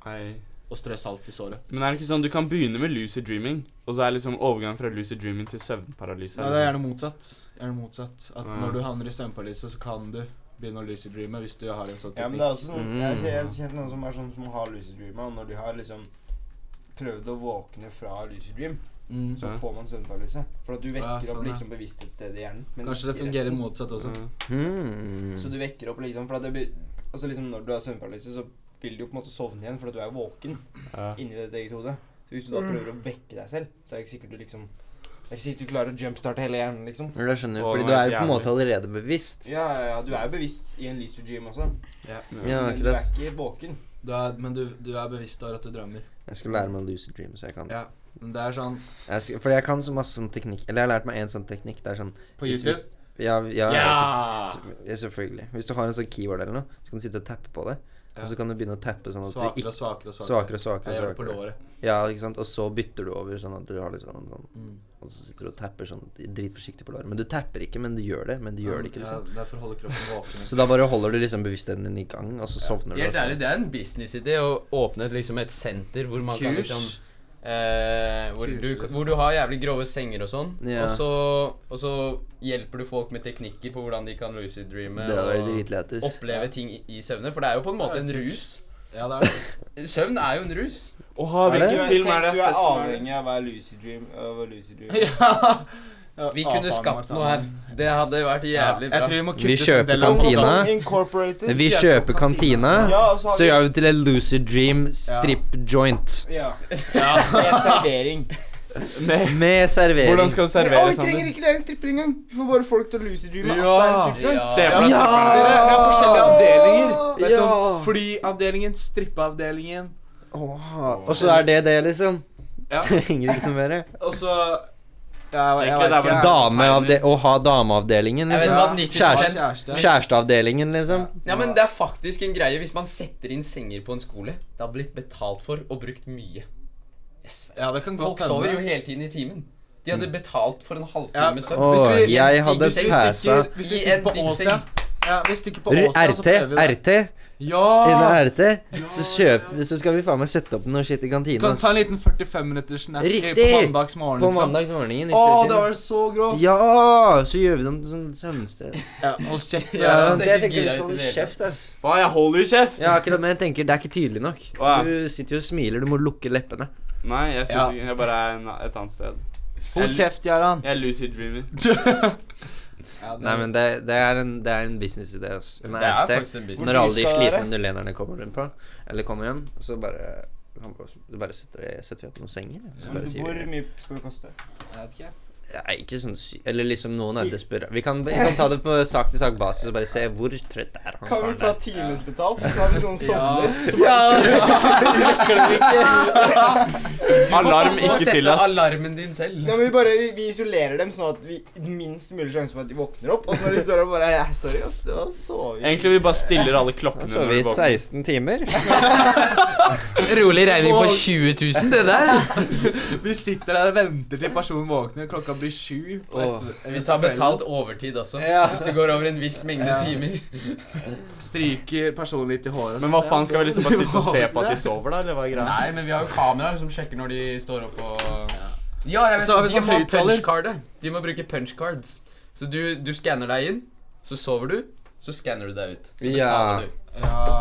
Speaker 2: Nei.
Speaker 5: å strø salt i såret.
Speaker 2: Men er det ikke sånn, du kan begynne med lucid dreaming, og så er liksom overgangen fra lucid dreaming til søvnparalyse.
Speaker 5: Nei, det er gjerne motsatt. Gjerne motsatt. At
Speaker 2: Ja.
Speaker 5: når du havner i søvnparalyse, så kan du begynne å lucid dreame hvis du har en sånn
Speaker 1: Ja, men
Speaker 5: teknikk.
Speaker 1: det er også sånn
Speaker 4: Mm.
Speaker 1: Jeg ser- jeg har kjent noen som er sånn som har lucid dream, og når de har liksom prøvd å våkne fra lucid dream,
Speaker 5: mm.
Speaker 1: så
Speaker 2: Ja.
Speaker 1: får man søvnparalyse. For at du vekker
Speaker 5: Ja,
Speaker 1: opp
Speaker 5: sånn, ja.
Speaker 1: liksom bevissthetsstedet i hjernen. men
Speaker 5: Kanskje det
Speaker 1: ikke
Speaker 5: fungerer
Speaker 1: resten.
Speaker 5: motsatt
Speaker 2: Liksom.
Speaker 5: også.
Speaker 4: Mm. Hmm.
Speaker 1: Så du vekker opp liksom For at det blir Altså liksom når du har søvnparalyse, så vil du jo på en måte sovne igjen, for at du er våken
Speaker 2: Ja.
Speaker 1: inni ditt eget hode. Så hvis du da prøver å vekke deg selv, så er det ikke sikkert du liksom Det er ikke sikkert du klarer å jumpstarte hele hjernen, liksom.
Speaker 4: Men Jeg skjønner,
Speaker 2: Å,
Speaker 4: fordi
Speaker 2: det
Speaker 4: du
Speaker 2: var
Speaker 4: er jo på en
Speaker 2: jævlig.
Speaker 4: måte allerede bevisst.
Speaker 1: Ja, ja, ja, du er jo bevisst i en lucid dream også,
Speaker 4: Ja,
Speaker 1: men du er
Speaker 4: akkurat.
Speaker 1: ikke våken.
Speaker 5: Du er, men du, du er bevisst over at du drømmer.
Speaker 4: Jeg skal lære meg lucid dream, så jeg kan
Speaker 5: Ja. Men det er sånn
Speaker 4: jeg skal, Fordi jeg kan så masse sånn teknikk Eller jeg har lært meg en sånn teknikk. Det er sånn
Speaker 5: På
Speaker 4: hvis-
Speaker 5: YouTube?
Speaker 4: hvis- Ja, ja,
Speaker 5: Ja!
Speaker 4: selvfø- ja, selvfølgelig. Hvis du har en sånn keyword eller noe, så kan du sitte og tappe på det.
Speaker 5: Ja.
Speaker 4: Og så kan du begynne å tappe sånn at du
Speaker 5: Svakere
Speaker 4: ikke
Speaker 5: og svakere og
Speaker 4: Svakere
Speaker 5: svakere.
Speaker 4: og svakere.
Speaker 5: Jeg gjør
Speaker 4: og
Speaker 5: det på
Speaker 4: svakere.
Speaker 5: låret.
Speaker 4: Ja, ikke sant? Og så bytter du over, sånn at du har litt sånn, sånn
Speaker 5: Mm.
Speaker 4: Og så sitter du og tapper sånn dritforsiktig på låret. Men du tapper ikke, men du gjør det. Men du gjør det ikke, liksom.
Speaker 5: Ja, derfor holder kroppen våken.
Speaker 4: Så da bare holder du liksom bevisstheten din i gang, og så sovner du. altså.
Speaker 3: Helt
Speaker 4: og så-
Speaker 3: ærlig, det er en businessidé å åpne et, liksom et senter hvor man kan
Speaker 5: Kurs.
Speaker 3: liksom eh, hvor,
Speaker 5: Kurs,
Speaker 3: du,
Speaker 5: liksom.
Speaker 3: hvor du har jævlig grove senger og sånn,
Speaker 4: Ja.
Speaker 3: og, så, og så hjelper du folk med teknikker på hvordan de kan lucid dreame
Speaker 4: Det hadde vært
Speaker 3: og
Speaker 4: dritlættis.
Speaker 3: oppleve ting i, i søvne. For det er jo på en måte en rus.
Speaker 5: Ja, det er det.
Speaker 3: Søvn er jo en rus.
Speaker 2: Åha,
Speaker 4: Er det?
Speaker 2: hvilken film er det
Speaker 1: Du
Speaker 2: jeg har
Speaker 1: er
Speaker 2: sett som er
Speaker 1: avhengig av å være lucid dream. Av å være lucid dream.
Speaker 3: Vi kunne skapt noe her. Det hadde vært jævlig
Speaker 5: Jeg
Speaker 3: bra.
Speaker 5: tror vi må
Speaker 4: Vi
Speaker 5: kutte ut en
Speaker 4: kjøper
Speaker 5: del av
Speaker 4: kantina.
Speaker 5: podcasten.
Speaker 1: Altså, Incorporated.
Speaker 4: Vi kjøper kantina,
Speaker 1: Ja, og så har
Speaker 4: så
Speaker 1: vi
Speaker 4: gjør vi til en lucid dream strip joint.
Speaker 1: Ja.
Speaker 5: Ja.
Speaker 1: Med servering.
Speaker 2: Med,
Speaker 4: Med servering.
Speaker 2: hvordan skal du
Speaker 1: Å,
Speaker 2: servere, sånn?
Speaker 1: vi trenger
Speaker 2: Sander?
Speaker 1: ikke leie en stripper engang! Vi får bare folk til å lucid dreame.
Speaker 5: Ja.
Speaker 1: at det er en strip joint.
Speaker 2: Se for deg
Speaker 5: Ja!
Speaker 2: stripperen.
Speaker 5: Det er, det er forskjellige avdelinger. Det er
Speaker 4: Ja.
Speaker 5: sånn flyavdelingen, strippeavdelingen
Speaker 4: Og så er det det, liksom?
Speaker 5: Ja.
Speaker 4: Trenger ikke noe mer?
Speaker 5: Og så ja, jeg, jeg,
Speaker 2: Egentlig,
Speaker 5: vet
Speaker 2: det er vel
Speaker 5: ikke.
Speaker 4: Dameavde å ha dameavdelingen,
Speaker 3: Jeg vet
Speaker 4: liksom.
Speaker 3: hva 90
Speaker 4: Kjæreste.
Speaker 5: Kjæreste.
Speaker 4: Kjæresteavdelingen, liksom.
Speaker 3: Ja, men Det er faktisk en greie hvis man setter inn senger på en skole. Det har blitt betalt for og brukt mye. Jeg sverger.
Speaker 5: Ja, det kan
Speaker 3: Folk
Speaker 5: godt
Speaker 3: sover jo
Speaker 5: hende.
Speaker 3: hele tiden i timen. De hadde betalt for en
Speaker 5: Ja.
Speaker 3: halvtime søvn.
Speaker 4: Å,
Speaker 5: Hvis vi-
Speaker 4: jeg hadde
Speaker 5: Hvis vi
Speaker 4: pæsa.
Speaker 5: stikker- Hvis vi
Speaker 3: I
Speaker 5: stikker
Speaker 3: en
Speaker 5: på
Speaker 3: diggseng.
Speaker 5: Åsia Ja, hvis vi stikker på Åsia, så
Speaker 4: RT,
Speaker 5: prøver vi det.
Speaker 4: RT. Inne
Speaker 5: Ja!
Speaker 4: RT. Så kjøper Så skal vi faen meg sette opp noe shit i kantina.
Speaker 5: Kan
Speaker 4: ass.
Speaker 5: ta en liten 45-minutters nap i- på
Speaker 4: Riktig!
Speaker 5: mandagsmorgen.
Speaker 4: På
Speaker 5: liksom.
Speaker 4: mandagsmorgenen i
Speaker 5: Å, det
Speaker 4: stedet.
Speaker 5: var så grovt!
Speaker 4: Ja! Så gjør vi det om til sånn søvnsted.
Speaker 5: Ja, hold kjeft.
Speaker 3: Ja,
Speaker 5: Ja,
Speaker 3: det er
Speaker 4: jeg
Speaker 3: ikke
Speaker 4: tenker du
Speaker 3: gira ut i
Speaker 4: skal
Speaker 3: det
Speaker 4: holde
Speaker 3: hele
Speaker 4: kjeft, ass.
Speaker 2: Hva, jeg holder jo kjeft!
Speaker 4: Ja, akkurat, men jeg tenker det er ikke tydelig nok.
Speaker 2: Å, ja.
Speaker 4: Du sitter jo og smiler, du må lukke leppene.
Speaker 2: Nei, jeg syns
Speaker 5: Ja.
Speaker 2: ikke Jeg bare er en, et annet sted.
Speaker 5: Hold kjeft, Jaran.
Speaker 2: Jeg er Lucy Dreamer.
Speaker 4: Nei, men det, det er en, det er en businessidé, ass. En
Speaker 3: Det er
Speaker 4: RT.
Speaker 3: faktisk en business.
Speaker 4: Når alle de
Speaker 2: dyrt skal det være?
Speaker 4: slitne nulenerne kommer rundt på, eller kommer hjem, så bare han bare, så bare setter, setter vi opp noen senger. og Så
Speaker 1: Men
Speaker 4: bare sier
Speaker 1: Hvor
Speaker 4: vi
Speaker 1: mye skal det koste?
Speaker 4: Nei, ikke sånn sy... Eller liksom noen er desperate. Vi kan, vi kan ta det på sak til sak-basis og bare se hvor trøtt er han
Speaker 1: Kan vi
Speaker 4: karen
Speaker 1: ta
Speaker 4: der.
Speaker 1: timesbetalt? Så har vi noen sovner.
Speaker 2: Alarm ikke tillatt.
Speaker 3: Sette alarmen din selv.
Speaker 1: Nei, men vi bare vi, vi isolerer dem sånn at vi minst mulig sjanse for at de våkner opp. Og så når de står der og bare ja, 'Sorry, ass, det var soving'.
Speaker 2: Egentlig vi bare stiller alle
Speaker 4: Da
Speaker 2: klokkene
Speaker 4: sover vi i 16 timer.
Speaker 3: Rolig regning på 20 000, det der.
Speaker 5: Vi sitter der og venter til personen våkner. Klokka blir sju. på
Speaker 4: Åh.
Speaker 5: etter-
Speaker 3: Vi tar betalt overtid også.
Speaker 5: Ja.
Speaker 3: Hvis det går over en viss mengde
Speaker 5: Ja.
Speaker 3: timer.
Speaker 5: Stryker personen litt i håret.
Speaker 2: Men
Speaker 5: og sånt.
Speaker 2: hva faen, skal vi liksom bare sitte og se på at
Speaker 5: Våkne.
Speaker 2: de sover, da? Eller hva er greia?
Speaker 3: Nei, men vi har jo kameraer som sjekker når de står opp og Ja, jeg vet
Speaker 5: Så har vi
Speaker 3: De
Speaker 5: sånn
Speaker 3: må ha
Speaker 5: høyttaler.
Speaker 3: punchcardet. De må bruke punchcards. Så du, du skanner deg inn, så sover du, så skanner du deg ut. Så
Speaker 4: Ja.
Speaker 3: betaler du.
Speaker 5: Ja.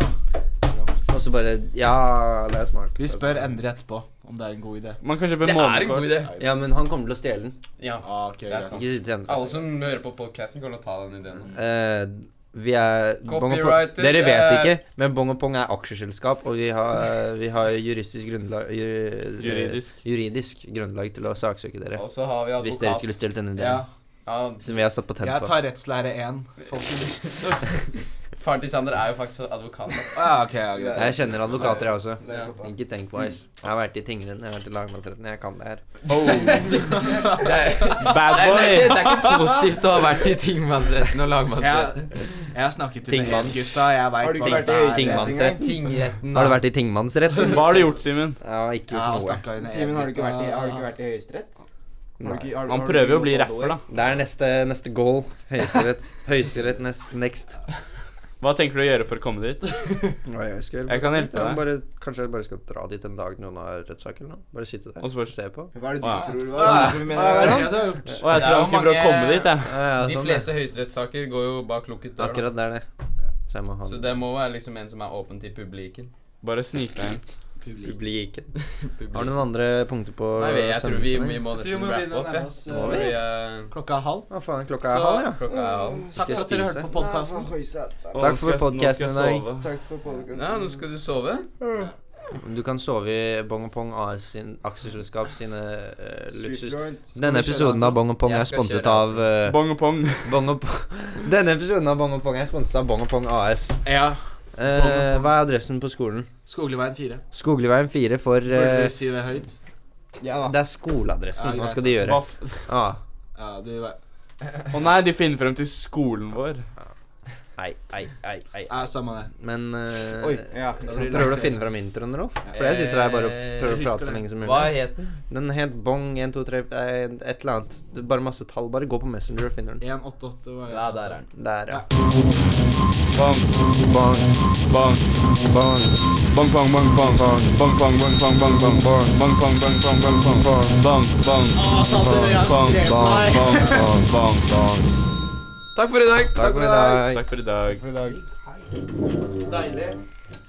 Speaker 4: Og så bare Ja, det er smart.
Speaker 5: Vi spør Endre etterpå om det er en god idé.
Speaker 2: Man kan kjøpe
Speaker 3: Det er en god
Speaker 2: månedskort.
Speaker 3: idé.
Speaker 4: Ja, men han kommer til å stjele den.
Speaker 3: Ja.
Speaker 5: Ah, ok,
Speaker 3: Det er
Speaker 5: greit.
Speaker 3: sant.
Speaker 4: Ikke sitte igjen.
Speaker 3: Alle som hører på podcasten kan jo ta den ideen.
Speaker 4: Eh, vi er Bong og Pong-
Speaker 3: Copyrighted,
Speaker 4: Dere vet
Speaker 3: eh,
Speaker 4: ikke, men Bong og Pong er aksjeselskap, og vi har, vi har juristisk grunnlag ju,
Speaker 2: Juridisk.
Speaker 4: juridisk grunnlag til å saksøke dere.
Speaker 3: Og så har vi
Speaker 4: Hvis dere
Speaker 3: advokat.
Speaker 4: skulle stjålet denne
Speaker 5: Ja.
Speaker 4: ideen.
Speaker 3: Ja,
Speaker 4: Som vi har satt patent
Speaker 5: Jeg
Speaker 4: på.
Speaker 5: tar rettslære 1.
Speaker 3: Faren til Sander er jo faktisk advokat. da.
Speaker 5: Ah, ok, ja, greit.
Speaker 4: Jeg kjenner advokater, jeg også.
Speaker 3: Ja.
Speaker 4: Ikke tenk på ice. Jeg har vært i tingretten, jeg har vært i lagmannsretten, jeg kan det her.
Speaker 3: Det er,
Speaker 2: Oh, Bad
Speaker 3: Nei, det, er ikke,
Speaker 2: boy!
Speaker 3: det er ikke positivt å ha vært i tingmannsretten og
Speaker 5: Jeg,
Speaker 3: lagmannsretten.
Speaker 5: jeg har snakket til
Speaker 4: Tingmanns.
Speaker 5: dere, gutta. Jeg
Speaker 1: Har
Speaker 5: vet
Speaker 1: du
Speaker 5: hva
Speaker 1: ikke vært
Speaker 5: det
Speaker 1: i
Speaker 5: er.
Speaker 4: Tingmann.
Speaker 1: høyesterettsrett?
Speaker 3: Tingretten
Speaker 4: Har du vært i tingmannsretten?
Speaker 2: Hva har du gjort, Simen?
Speaker 4: Jeg har ikke
Speaker 5: Jeg har
Speaker 4: gjort noe.
Speaker 5: snakket inn i
Speaker 1: Simen, har du ikke vært i, har du ikke
Speaker 5: Ja.
Speaker 1: vært i Høyesterett? Har du
Speaker 4: Nei.
Speaker 1: ikke- har du-
Speaker 2: Han
Speaker 1: har du
Speaker 2: prøver jo å
Speaker 1: ikke
Speaker 2: bli
Speaker 1: gått
Speaker 2: rapper, da.
Speaker 4: Det er neste, neste goal. Høyesterett. Høyesterett nes- next.
Speaker 2: Hva tenker du å gjøre for å komme dit?
Speaker 4: Hva jeg skal gjøre?
Speaker 2: Jeg kan hjelpe deg.
Speaker 4: Bare, kanskje jeg bare skal dra dit en dag noen har rettssak eller noe. Bare sitte der
Speaker 2: Og så bare-
Speaker 4: se på.
Speaker 1: Hva er det du
Speaker 2: Å, ja.
Speaker 1: tror? Hva er det du tror vi mener?
Speaker 5: Hva er det
Speaker 1: Aron?
Speaker 5: du har gjort?
Speaker 2: Og jeg
Speaker 3: Det
Speaker 2: tror
Speaker 3: er
Speaker 2: han
Speaker 3: jo
Speaker 2: skal prøve å
Speaker 3: mange-
Speaker 2: komme dit, jeg.
Speaker 4: Ja, ja,
Speaker 3: De
Speaker 4: sånn det.
Speaker 3: fleste høyesterettssaker går jo bak lukket dør. da.
Speaker 4: Akkurat det er det. Så jeg må ha
Speaker 3: Så det må være liksom en som er åpen til publiken.
Speaker 2: Bare snike deg inn.
Speaker 4: publiken. Har du
Speaker 3: Publiken.
Speaker 4: noen andre punkter på
Speaker 3: Nei, vi- jeg tror vi, vi
Speaker 4: søvnsendinger?
Speaker 3: må
Speaker 5: tror vi
Speaker 3: nesten
Speaker 5: må begynne
Speaker 3: rappe
Speaker 5: å
Speaker 3: opp,
Speaker 5: nærme
Speaker 3: ja.
Speaker 5: oss,
Speaker 3: Nå må
Speaker 4: eh,
Speaker 3: vi eh,
Speaker 5: Klokka er halv.
Speaker 4: Hva faen, klokka
Speaker 5: Så-
Speaker 4: er halv, ja.
Speaker 3: Klokka er halv.
Speaker 5: Takk for at dere hørte på podkasten.
Speaker 1: sånn,
Speaker 2: Å,
Speaker 4: Takk
Speaker 2: nå
Speaker 4: for
Speaker 2: skal jeg- nå
Speaker 4: podcasten
Speaker 2: skal jeg
Speaker 4: i dag.
Speaker 2: sove.
Speaker 1: Takk for podkasten.
Speaker 3: Ja, nå skal du sove.
Speaker 4: Du kan sove i Bong og Pong AS sin aksjeselskap sine eh, luksus...
Speaker 1: Joint.
Speaker 4: Denne episoden av Bong og Pong
Speaker 3: Jeg
Speaker 4: er
Speaker 3: skal
Speaker 4: sponset
Speaker 3: kjøre
Speaker 4: av eh,
Speaker 2: Bong og pong.
Speaker 4: Bong og Pong Denne episoden av Bong og Pong er sponset av Bong og Pong AS.
Speaker 5: Ja.
Speaker 4: Eh, hva er adressen på skolen?
Speaker 5: Skogliveien 4.
Speaker 4: Skogliveien 4 for
Speaker 5: Burde
Speaker 4: eh,
Speaker 5: vi si det høyt?
Speaker 1: Ja da.
Speaker 4: Det er skoleadressen.
Speaker 5: Ja,
Speaker 4: Hva
Speaker 5: greit.
Speaker 4: skal de gjøre?
Speaker 2: Hva f-
Speaker 4: Ah,
Speaker 5: Ja, du vet.
Speaker 2: Å nei, de finner frem til skolen vår.
Speaker 4: ei, ei, ei, ei.
Speaker 5: Ja, samme det.
Speaker 4: Men eh,
Speaker 1: Oi. Ja.
Speaker 5: blir det
Speaker 4: Prøver du å finne fram introen, Rolf? For jeg sitter her bare og prøver å
Speaker 5: husker
Speaker 4: prate så
Speaker 5: det.
Speaker 4: lenge som
Speaker 3: Eh, Hva
Speaker 4: mulig.
Speaker 3: het den?
Speaker 4: Den het Bong 1, 2, 3, eh, et eller annet. Det er bare masse tall. Bare gå på Messenger og finner den.
Speaker 5: 188 var det.
Speaker 3: Ja, der er den.
Speaker 4: Der, ja.
Speaker 2: Bang,
Speaker 4: Bong,
Speaker 2: bang,
Speaker 4: bong.
Speaker 2: bang, bang, bang, bang, bang, bang, bang, bang, bang, bang, bang, bang, bang, bang, bang, bang, bang, bang, bang, bang, bang, bang, bang, bang, bang, bang.
Speaker 3: Takk for i dag.
Speaker 4: Takk for i dag.
Speaker 2: Takk for i dag.
Speaker 1: For i dag.
Speaker 5: Deilig.